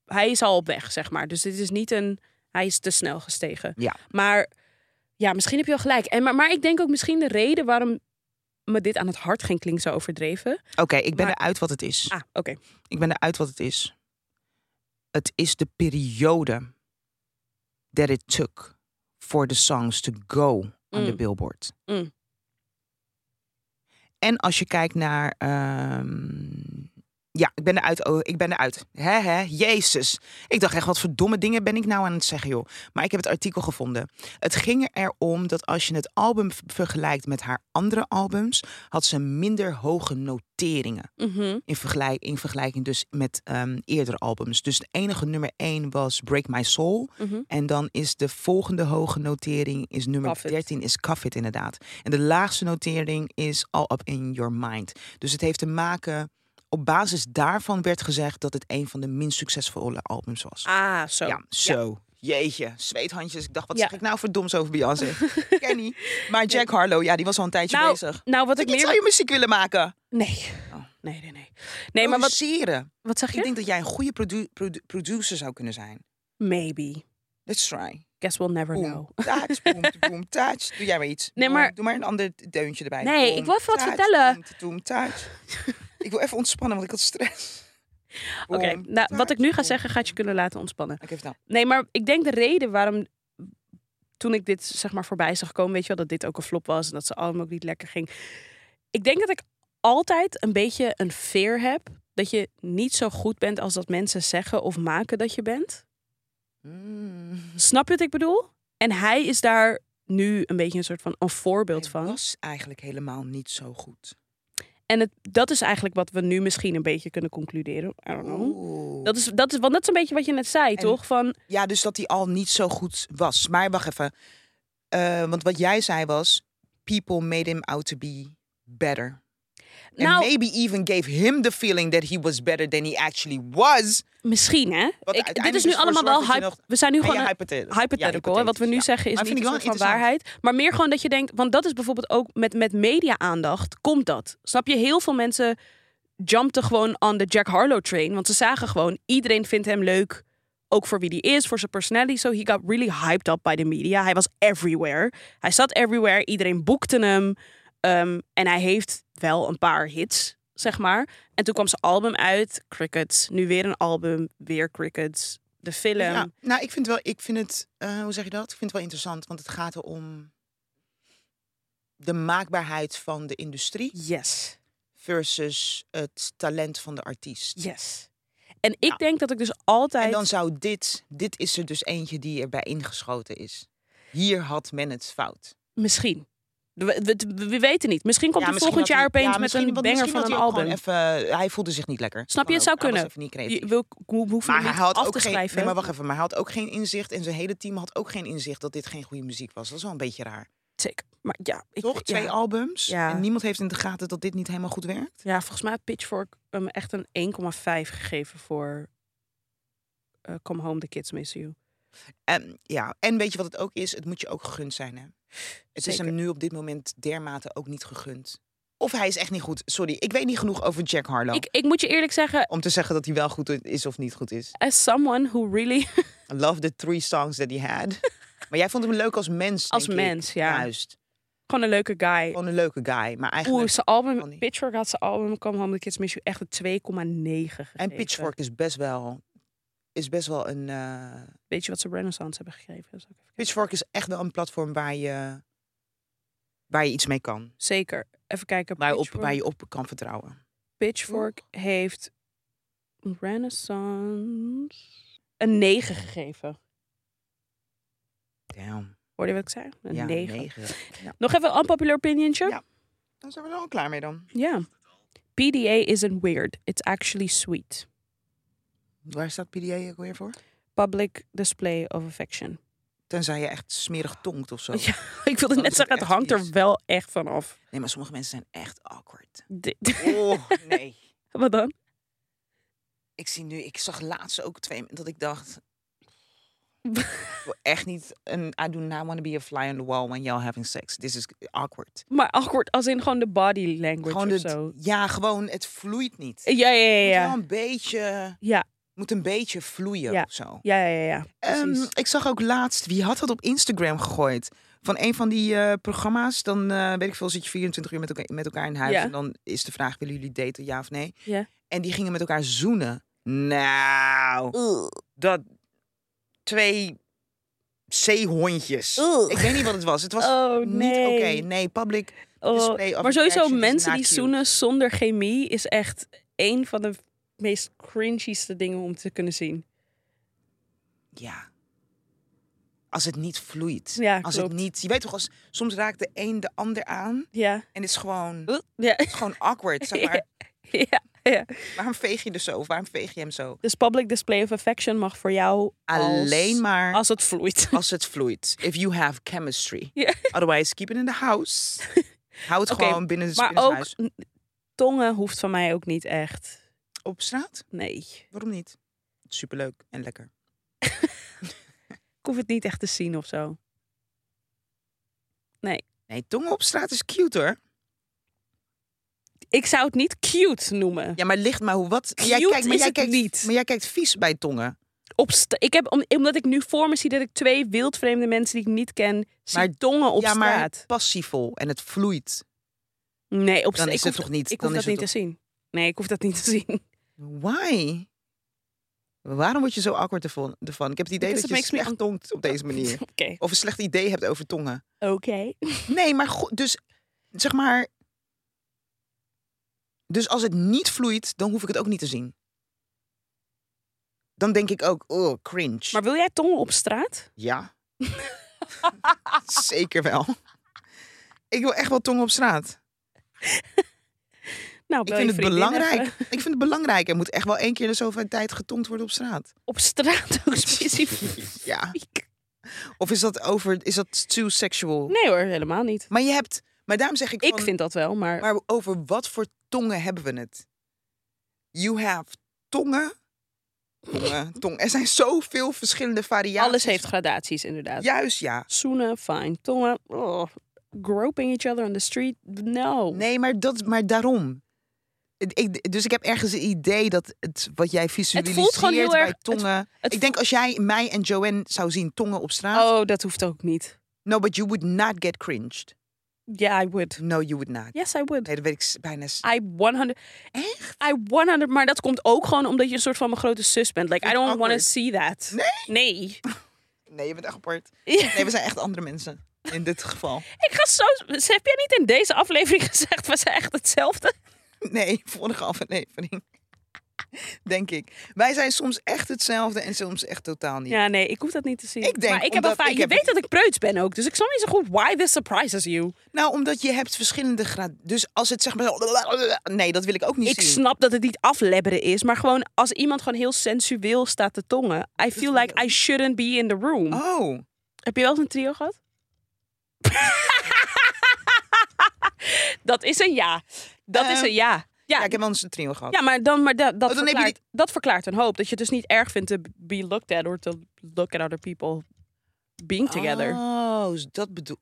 [SPEAKER 2] Hij is al op weg, zeg maar. Dus dit is niet een. Hij is te snel gestegen.
[SPEAKER 1] Ja.
[SPEAKER 2] Maar ja, misschien heb je wel gelijk. En, maar, maar ik denk ook misschien de reden waarom me dit aan het hart ging klinkt zo overdreven.
[SPEAKER 1] Oké, ik ben
[SPEAKER 2] Maar-
[SPEAKER 1] eruit wat het is.
[SPEAKER 2] Ah, oké.
[SPEAKER 1] Ik ben eruit wat het is. Het is de periode that it took for the songs to go on the
[SPEAKER 2] Mm.
[SPEAKER 1] billboard.
[SPEAKER 2] Mm.
[SPEAKER 1] En als je kijkt naar... ehm, ja, ik ben eruit. Oh, ik ben eruit. Hè, hè, Jezus. Ik dacht echt, wat voor domme dingen ben ik nou aan het zeggen, joh. Maar ik heb het artikel gevonden. Het ging erom dat als je het album v- vergelijkt met haar andere albums... had ze minder hoge noteringen.
[SPEAKER 2] Mhm.
[SPEAKER 1] In, vergelijk, in vergelijking dus met ehm eerdere albums. Dus de enige nummer 1 was Break My Soul.
[SPEAKER 2] Mhm.
[SPEAKER 1] En dan is de volgende hoge notering, is nummer
[SPEAKER 2] Cuff It.
[SPEAKER 1] 13, is Cuff It inderdaad. En de laagste notering is All Up In Your Mind. Dus het heeft te maken, op basis daarvan werd gezegd dat het een van de minst succesvolle albums was.
[SPEAKER 2] Ah, zo.
[SPEAKER 1] Ja, zo. Jeetje, zweethandjes. Ik dacht, wat
[SPEAKER 2] Ja.
[SPEAKER 1] zeg ik nou voor doms over Beyoncé? Kenny. Maar Jack Harlow, ja, die was al een tijdje
[SPEAKER 2] Nou,
[SPEAKER 1] bezig.
[SPEAKER 2] Nou, wat ik
[SPEAKER 1] Ik zou
[SPEAKER 2] meer...
[SPEAKER 1] je muziek willen maken.
[SPEAKER 2] Nee.
[SPEAKER 1] Oh.
[SPEAKER 2] Nee, nee, nee. Nee, maar wat,
[SPEAKER 1] Produceren.
[SPEAKER 2] wat zeg
[SPEAKER 1] Ik
[SPEAKER 2] je?
[SPEAKER 1] denk dat jij een goede produ- produ- producer zou kunnen zijn.
[SPEAKER 2] Maybe.
[SPEAKER 1] Let's try.
[SPEAKER 2] Guess we'll never
[SPEAKER 1] Boom,
[SPEAKER 2] know.
[SPEAKER 1] taats, boom, boom, taats. Doe jij maar iets.
[SPEAKER 2] nou. Nee,
[SPEAKER 1] Boom,
[SPEAKER 2] maar-
[SPEAKER 1] Doe maar een ander deuntje erbij.
[SPEAKER 2] Nee,
[SPEAKER 1] Boom,
[SPEAKER 2] ik wil even wat
[SPEAKER 1] taats,
[SPEAKER 2] vertellen.
[SPEAKER 1] boom, boom, taats. ik wil even ontspannen, want ik had stress.
[SPEAKER 2] Oké,
[SPEAKER 1] Boom,
[SPEAKER 2] nou, wat ik
[SPEAKER 1] taats,
[SPEAKER 2] nu ga
[SPEAKER 1] boom. nou-
[SPEAKER 2] zeggen gaat je kunnen laten ontspannen.
[SPEAKER 1] Oké, vertel.
[SPEAKER 2] Nee, maar ik denk de reden waarom toen ik dit zeg maar voorbij zag komen, weet je wel, dat dit ook een flop was en dat ze allemaal ook niet lekker ging. Ik denk dat ik altijd een beetje een fear heb dat je niet zo goed bent als dat mensen zeggen of maken dat je bent.
[SPEAKER 1] Mm.
[SPEAKER 2] Snap je wat ik bedoel? En hij is daar nu een beetje een soort van een voorbeeld
[SPEAKER 1] Hij
[SPEAKER 2] van.
[SPEAKER 1] was eigenlijk helemaal niet zo goed.
[SPEAKER 2] En het, dat is eigenlijk wat we nu misschien een beetje kunnen concluderen. I don't know.
[SPEAKER 1] Oeh.
[SPEAKER 2] Oh. Dat is, dat is, want dat is een beetje wat je net zei, toch? Van,
[SPEAKER 1] Ja, dus dat hij al niet zo goed was. Maar wacht even. Eh, want wat jij zei was... People made him out to be better.
[SPEAKER 2] nou,
[SPEAKER 1] And maybe even gave him the feeling that he was better than he actually was.
[SPEAKER 2] misschien hè.
[SPEAKER 1] Wat
[SPEAKER 2] Ik, dit
[SPEAKER 1] uiteindelijk
[SPEAKER 2] is nu
[SPEAKER 1] dus voor
[SPEAKER 2] allemaal wel...
[SPEAKER 1] zorgt dat je
[SPEAKER 2] hype-
[SPEAKER 1] nog-
[SPEAKER 2] we zijn nu
[SPEAKER 1] Ja,
[SPEAKER 2] gewoon...
[SPEAKER 1] ja,
[SPEAKER 2] een-
[SPEAKER 1] hypothetical. Ja,
[SPEAKER 2] hypothetical. hè. wat we nu
[SPEAKER 1] ja.
[SPEAKER 2] zeggen is
[SPEAKER 1] Maar
[SPEAKER 2] niet
[SPEAKER 1] vind
[SPEAKER 2] een
[SPEAKER 1] ik wel
[SPEAKER 2] soort van
[SPEAKER 1] interessant.
[SPEAKER 2] waarheid. Maar meer gewoon dat je denkt... Want dat is bijvoorbeeld ook met, met media-aandacht. Komt dat? Snap je? Heel veel mensen jumpten gewoon on the Jack Harlow train. Want ze zagen gewoon... Iedereen vindt hem leuk. Ook voor wie die is. Voor zijn personality. So he got really hyped up by the media. Hij was everywhere. Hij zat everywhere. Iedereen boekte hem. Ehm, en hij heeft wel een paar hits, zeg maar. En toen kwam zijn album uit, Crickets. Nu weer een album, weer Crickets. De film.
[SPEAKER 1] Ja, nou, ik vind wel, ik vind het, eh, hoe zeg je dat? Ik vind het wel interessant, want het gaat erom de maakbaarheid van de industrie
[SPEAKER 2] Yes,
[SPEAKER 1] versus het talent van de artiest.
[SPEAKER 2] yes. En ik denk dat ik dus altijd...
[SPEAKER 1] En dan zou dit, dit is er dus eentje die erbij ingeschoten is. Hier had men het fout.
[SPEAKER 2] Misschien. We, we- we weten niet. Misschien komt
[SPEAKER 1] Ja,
[SPEAKER 2] hij
[SPEAKER 1] misschien
[SPEAKER 2] volgend
[SPEAKER 1] had
[SPEAKER 2] jaar
[SPEAKER 1] hij-
[SPEAKER 2] opeens
[SPEAKER 1] ja,
[SPEAKER 2] met
[SPEAKER 1] misschien-
[SPEAKER 2] een
[SPEAKER 1] want
[SPEAKER 2] banger
[SPEAKER 1] misschien
[SPEAKER 2] van een
[SPEAKER 1] had hij ook
[SPEAKER 2] album.
[SPEAKER 1] gewoon Even, eh, hij voelde zich niet lekker.
[SPEAKER 2] Snap
[SPEAKER 1] Kan
[SPEAKER 2] je? Het zou
[SPEAKER 1] ook. Hij was
[SPEAKER 2] kunnen.
[SPEAKER 1] even niet creatief.
[SPEAKER 2] Je, wil, hoe, hoef je
[SPEAKER 1] Maar
[SPEAKER 2] niet
[SPEAKER 1] hij had
[SPEAKER 2] af
[SPEAKER 1] ook
[SPEAKER 2] te
[SPEAKER 1] geen.
[SPEAKER 2] schrijven.
[SPEAKER 1] Nee, maar wacht even. Maar hij had ook geen inzicht en zijn hele team had ook geen inzicht dat dit geen goede muziek was. Dat is wel een beetje raar.
[SPEAKER 2] Zeker. Maar ja, ik,
[SPEAKER 1] Toch? Twee
[SPEAKER 2] ja.
[SPEAKER 1] albums.
[SPEAKER 2] Ja.
[SPEAKER 1] En niemand heeft in de gaten dat dit niet helemaal goed werkt.
[SPEAKER 2] Ja, volgens mij had Pitchfork hem echt een 1,5 gegeven voor eh, Come Home, The Kids Miss You.
[SPEAKER 1] En, Ehm, ja. en weet je wat het ook is? Het moet je ook gegund zijn. Hè? Het is hem
[SPEAKER 2] Zeker.
[SPEAKER 1] nu op dit moment dermate ook niet gegund. Of hij is echt niet goed. Sorry, ik weet niet genoeg over Jack Harlow.
[SPEAKER 2] Ik, ik moet je eerlijk zeggen,
[SPEAKER 1] Om te zeggen dat hij wel goed is of niet goed is.
[SPEAKER 2] as someone who really...
[SPEAKER 1] I love the three songs that he had. maar jij vond hem leuk als mens.
[SPEAKER 2] Als
[SPEAKER 1] denk ik.
[SPEAKER 2] mens, ja.
[SPEAKER 1] Juist.
[SPEAKER 2] gewoon een leuke guy.
[SPEAKER 1] Gewoon een leuke guy. Maar eigenlijk.
[SPEAKER 2] Oeh, zijn
[SPEAKER 1] kan
[SPEAKER 2] album,
[SPEAKER 1] niet.
[SPEAKER 2] Pitchfork had zijn album Come Home, The Kids Miss You echt een 2,9 gegeven.
[SPEAKER 1] En Pitchfork is best wel, is best wel een. eh,
[SPEAKER 2] Weet je wat ze Renaissance hebben gegeven? Dat is ook even kijken.
[SPEAKER 1] Pitchfork is echt wel een platform waar je, waar je iets mee kan.
[SPEAKER 2] Zeker. Even kijken.
[SPEAKER 1] Waar je, op,
[SPEAKER 2] Pitchfork,
[SPEAKER 1] waar je op kan vertrouwen.
[SPEAKER 2] Pitchfork heeft Renaissance een 9 gegeven.
[SPEAKER 1] Damn.
[SPEAKER 2] Hoorde je wat ik zei? Een
[SPEAKER 1] ja,
[SPEAKER 2] 9.
[SPEAKER 1] negen. Ja,
[SPEAKER 2] Nog even een unpopular opinion,
[SPEAKER 1] Ja. dan zijn we er al klaar mee dan.
[SPEAKER 2] Ja. PDA isn't weird. It's actually sweet.
[SPEAKER 1] Waar staat PDA ook weer voor?
[SPEAKER 2] Public display of affection.
[SPEAKER 1] Tenzij je echt smerig tongt of zo.
[SPEAKER 2] Ja. Ik wilde
[SPEAKER 1] Dat
[SPEAKER 2] net
[SPEAKER 1] is ook
[SPEAKER 2] zeggen, het
[SPEAKER 1] echt
[SPEAKER 2] hangt er
[SPEAKER 1] vies.
[SPEAKER 2] wel echt van af.
[SPEAKER 1] Nee, maar sommige mensen zijn echt awkward.
[SPEAKER 2] Dit-
[SPEAKER 1] Oh, nee.
[SPEAKER 2] Wat dan?
[SPEAKER 1] Ik zie nu, ik zag laatst ook twee, dat ik dacht... ik wil Echt niet, een, I do not want to be a fly on the wall when y'all having sex. This is awkward.
[SPEAKER 2] Maar awkward als in gewoon de body language
[SPEAKER 1] Gewoon
[SPEAKER 2] of
[SPEAKER 1] het,
[SPEAKER 2] zo.
[SPEAKER 1] ja, gewoon, het vloeit niet.
[SPEAKER 2] Ja, ja,
[SPEAKER 1] moet
[SPEAKER 2] ja,
[SPEAKER 1] wel
[SPEAKER 2] ja.
[SPEAKER 1] een beetje,
[SPEAKER 2] Ja,
[SPEAKER 1] moet een beetje vloeien
[SPEAKER 2] Ja.
[SPEAKER 1] of zo.
[SPEAKER 2] ja, ja, ja. ja.
[SPEAKER 1] Ehm,
[SPEAKER 2] Precies.
[SPEAKER 1] ik zag ook laatst, wie had dat op Instagram gegooid? Van een van die eh, programma's. Dan eh, weet ik veel, zit je 24 uur met elkaar, met elkaar in huis.
[SPEAKER 2] Ja.
[SPEAKER 1] En dan is de vraag, willen jullie daten, ja of nee?
[SPEAKER 2] Ja.
[SPEAKER 1] En die gingen met elkaar zoenen. Nou, dat twee zeehondjes.
[SPEAKER 2] Ugh.
[SPEAKER 1] Ik weet niet wat het was. Het was
[SPEAKER 2] Oh,
[SPEAKER 1] niet oké.
[SPEAKER 2] nee.
[SPEAKER 1] Nee, public
[SPEAKER 2] Oh,
[SPEAKER 1] display of
[SPEAKER 2] maar sowieso
[SPEAKER 1] affection is
[SPEAKER 2] mensen
[SPEAKER 1] not
[SPEAKER 2] die
[SPEAKER 1] cute.
[SPEAKER 2] zoenen zonder chemie is echt een van de meest cringyste dingen om te kunnen zien.
[SPEAKER 1] Ja. Als het niet vloeit.
[SPEAKER 2] Ja,
[SPEAKER 1] als
[SPEAKER 2] klopt.
[SPEAKER 1] het niet. Je weet toch, als, soms raakt de een de ander aan.
[SPEAKER 2] Ja.
[SPEAKER 1] En het is gewoon, het
[SPEAKER 2] Ja.
[SPEAKER 1] is gewoon awkward. Zeg maar.
[SPEAKER 2] ja, ja.
[SPEAKER 1] Waarom veeg je er zo? Of waarom veeg je hem zo?
[SPEAKER 2] Dus public display of affection mag voor jou als-
[SPEAKER 1] Alleen maar als,
[SPEAKER 2] als het vloeit.
[SPEAKER 1] het vloeit. If you have chemistry.
[SPEAKER 2] Ja.
[SPEAKER 1] Otherwise, keep it in the house. Hou het
[SPEAKER 2] Oké,
[SPEAKER 1] gewoon binnen,
[SPEAKER 2] Maar
[SPEAKER 1] binnen het
[SPEAKER 2] ook
[SPEAKER 1] huis.
[SPEAKER 2] n- tongen hoeft van mij ook niet echt.
[SPEAKER 1] Op straat?
[SPEAKER 2] Nee.
[SPEAKER 1] Waarom niet? Superleuk en lekker.
[SPEAKER 2] Ik hoef het niet echt te zien of zo.
[SPEAKER 1] Nee, tongen op straat is cute hoor.
[SPEAKER 2] Ik zou het niet cute noemen.
[SPEAKER 1] Ja, maar ligt maar hoe wat.
[SPEAKER 2] Cute
[SPEAKER 1] jij kijkt, maar
[SPEAKER 2] is
[SPEAKER 1] jij
[SPEAKER 2] het
[SPEAKER 1] kijkt,
[SPEAKER 2] niet.
[SPEAKER 1] Maar jij kijkt vies bij tongen.
[SPEAKER 2] Op sta- ik heb, om- omdat ik nu voor me zie dat ik twee wildvreemde mensen die ik niet ken, zie
[SPEAKER 1] Maar-
[SPEAKER 2] tongen op
[SPEAKER 1] ja, maar
[SPEAKER 2] straat.
[SPEAKER 1] passievol en het vloeit.
[SPEAKER 2] Nee, op
[SPEAKER 1] Dan
[SPEAKER 2] straat.
[SPEAKER 1] is het toch niet.
[SPEAKER 2] Ik
[SPEAKER 1] dan
[SPEAKER 2] hoef dat
[SPEAKER 1] is
[SPEAKER 2] niet te zien. Nee, ik hoef dat niet te zien.
[SPEAKER 1] Why? Waarom word je zo awkward ervan? ervan? Ik heb het idee
[SPEAKER 2] Because
[SPEAKER 1] dat je
[SPEAKER 2] it makes me
[SPEAKER 1] slecht tongt op deze manier.
[SPEAKER 2] Oké.
[SPEAKER 1] Of een slecht idee hebt over tongen.
[SPEAKER 2] Oké.
[SPEAKER 1] Nee, maar goed, dus zeg maar... Dus als het niet vloeit, dan hoef ik het ook niet te zien. Dan denk ik ook, oh, cringe.
[SPEAKER 2] Maar wil jij tongen op straat?
[SPEAKER 1] Ja. Zeker wel. Ik wil echt wel tongen op straat.
[SPEAKER 2] Nou,
[SPEAKER 1] Ik
[SPEAKER 2] bel je eh,
[SPEAKER 1] vind het
[SPEAKER 2] vriendin
[SPEAKER 1] belangrijk.
[SPEAKER 2] even.
[SPEAKER 1] Ik vind het belangrijk. Er moet echt wel één keer in de zoveel tijd getongd worden op straat.
[SPEAKER 2] Op straat ook specifiek.
[SPEAKER 1] Ja. Of is dat over? Is dat too sexual?
[SPEAKER 2] Nee hoor, helemaal niet.
[SPEAKER 1] Maar je hebt. Maar daarom zeg ik.
[SPEAKER 2] Ik
[SPEAKER 1] van,
[SPEAKER 2] vind dat wel, maar...
[SPEAKER 1] Maar over wat voor tongen hebben we het? You have tongen. Tongen, tong. Er zijn zoveel verschillende variaties.
[SPEAKER 2] Alles heeft gradaties, inderdaad.
[SPEAKER 1] Juist ja.
[SPEAKER 2] Zoenen, fijn, tongen. oh, Groping each other on the street. No.
[SPEAKER 1] Nee, maar, dat, maar daarom. Het- Ik, dus ik heb ergens het idee dat het, wat jij visualiseert
[SPEAKER 2] gewoon heel
[SPEAKER 1] bij
[SPEAKER 2] erg- het-
[SPEAKER 1] tongen...
[SPEAKER 2] het-
[SPEAKER 1] ik denk als jij mij en Joanne zou zien tongen op straat...
[SPEAKER 2] Oh, dat hoeft ook niet.
[SPEAKER 1] No, but you would not get cringed.
[SPEAKER 2] Yeah, I would.
[SPEAKER 1] No, you would not.
[SPEAKER 2] Yes, I would.
[SPEAKER 1] Nee, dat weet ik s- bijna... s-
[SPEAKER 2] I 100. Ah, Echt? I 100. Maar dat komt ook gewoon omdat je een soort van mijn grote zus bent. Like, I
[SPEAKER 1] Vind ik
[SPEAKER 2] don't want to
[SPEAKER 1] awkward.
[SPEAKER 2] see that.
[SPEAKER 1] Nee?
[SPEAKER 2] Nee.
[SPEAKER 1] Nee, je bent echt apart. Nee, we zijn echt andere mensen. In dit geval.
[SPEAKER 2] Ik ga zo. Heb jij niet in deze aflevering gezegd, we zijn echt hetzelfde?
[SPEAKER 1] Nee, vorige aflevering. Denk ik. Wij zijn soms echt hetzelfde en soms echt totaal niet.
[SPEAKER 2] Ja, nee, ik hoef dat niet te zien.
[SPEAKER 1] Ik denk
[SPEAKER 2] maar ik heb al
[SPEAKER 1] omdat
[SPEAKER 2] vaak.
[SPEAKER 1] ik
[SPEAKER 2] Je
[SPEAKER 1] heb-
[SPEAKER 2] weet dat ik preuts ben ook, dus ik snap niet zo goed why this surprises you.
[SPEAKER 1] Nou, omdat je hebt verschillende graden. Dus als het zeg maar zo... Nee, dat wil ik ook niet
[SPEAKER 2] Ik
[SPEAKER 1] zien.
[SPEAKER 2] snap dat het niet aflebberen is, maar gewoon als iemand gewoon heel sensueel staat te tongen, I feel
[SPEAKER 1] vind ik
[SPEAKER 2] like I shouldn't be in the room.
[SPEAKER 1] Oh.
[SPEAKER 2] Heb je wel eens een trio gehad? dat is een ja. Dat is
[SPEAKER 1] Ehm,
[SPEAKER 2] een ja. Ja,
[SPEAKER 1] Ja, ik heb wel eens een trio gehad.
[SPEAKER 2] ja maar, dan, maar dat, dat,
[SPEAKER 1] Oh, dan heb je
[SPEAKER 2] verklaart, dat verklaart een hoop. Dat je het dus niet erg vindt te be looked at or to look at other people being together.
[SPEAKER 1] Oh, dus dat bedoel...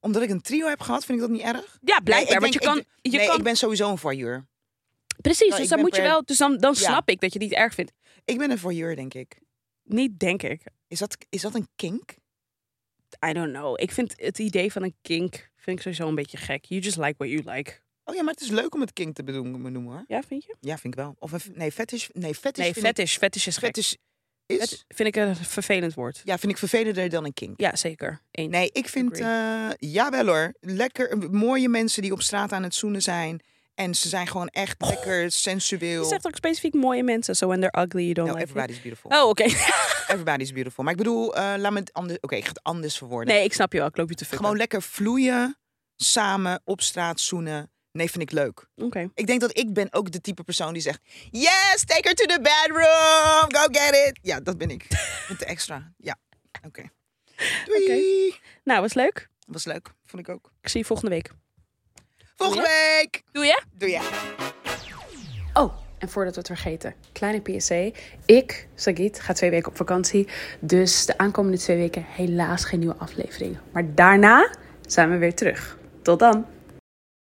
[SPEAKER 1] Omdat ik een trio heb gehad, vind ik dat niet erg?
[SPEAKER 2] Ja,
[SPEAKER 1] Nee,
[SPEAKER 2] blijkbaar. want
[SPEAKER 1] ik
[SPEAKER 2] je
[SPEAKER 1] denk-
[SPEAKER 2] kan.
[SPEAKER 1] ik-
[SPEAKER 2] je
[SPEAKER 1] nee,
[SPEAKER 2] kan
[SPEAKER 1] ik ben sowieso een voyeur.
[SPEAKER 2] precies,
[SPEAKER 1] nou,
[SPEAKER 2] dus,
[SPEAKER 1] ik
[SPEAKER 2] dan
[SPEAKER 1] ben
[SPEAKER 2] moet je
[SPEAKER 1] per-
[SPEAKER 2] wel, dus dan, dan
[SPEAKER 1] Ja.
[SPEAKER 2] snap ik dat je het niet erg vindt.
[SPEAKER 1] Ik ben een voyeur, denk ik.
[SPEAKER 2] Niet, denk ik.
[SPEAKER 1] Is dat, is dat een kink?
[SPEAKER 2] I don't know. Ik vind het idee van een kink vind ik sowieso een beetje gek. You just like what you like.
[SPEAKER 1] Oh ja, maar het is leuk om het kink te bedoen- benoemen, hoor.
[SPEAKER 2] Ja, vind je?
[SPEAKER 1] Ja, vind ik wel. Of een, nee, fetish. Nee, fetish
[SPEAKER 2] Hm. Nee,
[SPEAKER 1] vind ik-
[SPEAKER 2] fetish. Fetish is gek.
[SPEAKER 1] fetish is...
[SPEAKER 2] Vet- vind ik een vervelend woord.
[SPEAKER 1] Ja, vind ik vervelender dan een kink.
[SPEAKER 2] Ja, zeker. Eens.
[SPEAKER 1] Nee, ik vind... eh, ja jawel hoor. Lekker eh, mooie mensen die op straat aan het zoenen zijn. En ze zijn gewoon
[SPEAKER 2] Oh.
[SPEAKER 1] echt lekker sensueel.
[SPEAKER 2] Je zegt ook specifiek mooie mensen. So when they're ugly, you don't
[SPEAKER 1] No,
[SPEAKER 2] like it.
[SPEAKER 1] everybody's beautiful.
[SPEAKER 2] Oh, oké.
[SPEAKER 1] Everybody's beautiful. Maar ik bedoel, eh, laat me het anders... Oké, ik ga het anders verwoorden.
[SPEAKER 2] nee, ik snap je wel. Ik loop je te fucken.
[SPEAKER 1] Gewoon lekker vloeien, samen op straat zoenen. Nee, vind ik leuk.
[SPEAKER 2] Oké.
[SPEAKER 1] Ik denk dat ik ben ook de type persoon die zegt... Yes, take her to the bedroom, go get it. Ja, dat ben ik. Met de extra. Ja, oké. Doei.
[SPEAKER 2] Nou, was leuk.
[SPEAKER 1] Was leuk, vond ik ook.
[SPEAKER 2] Ik zie je volgende week.
[SPEAKER 1] Volgende week.
[SPEAKER 2] Doe je?
[SPEAKER 1] Doei ja.
[SPEAKER 2] Oh, en voordat we het vergeten, kleine PSA. Ik, Sagit, ga twee weken op vakantie. Dus de aankomende twee weken helaas geen nieuwe aflevering. Maar daarna zijn we weer terug. Tot dan!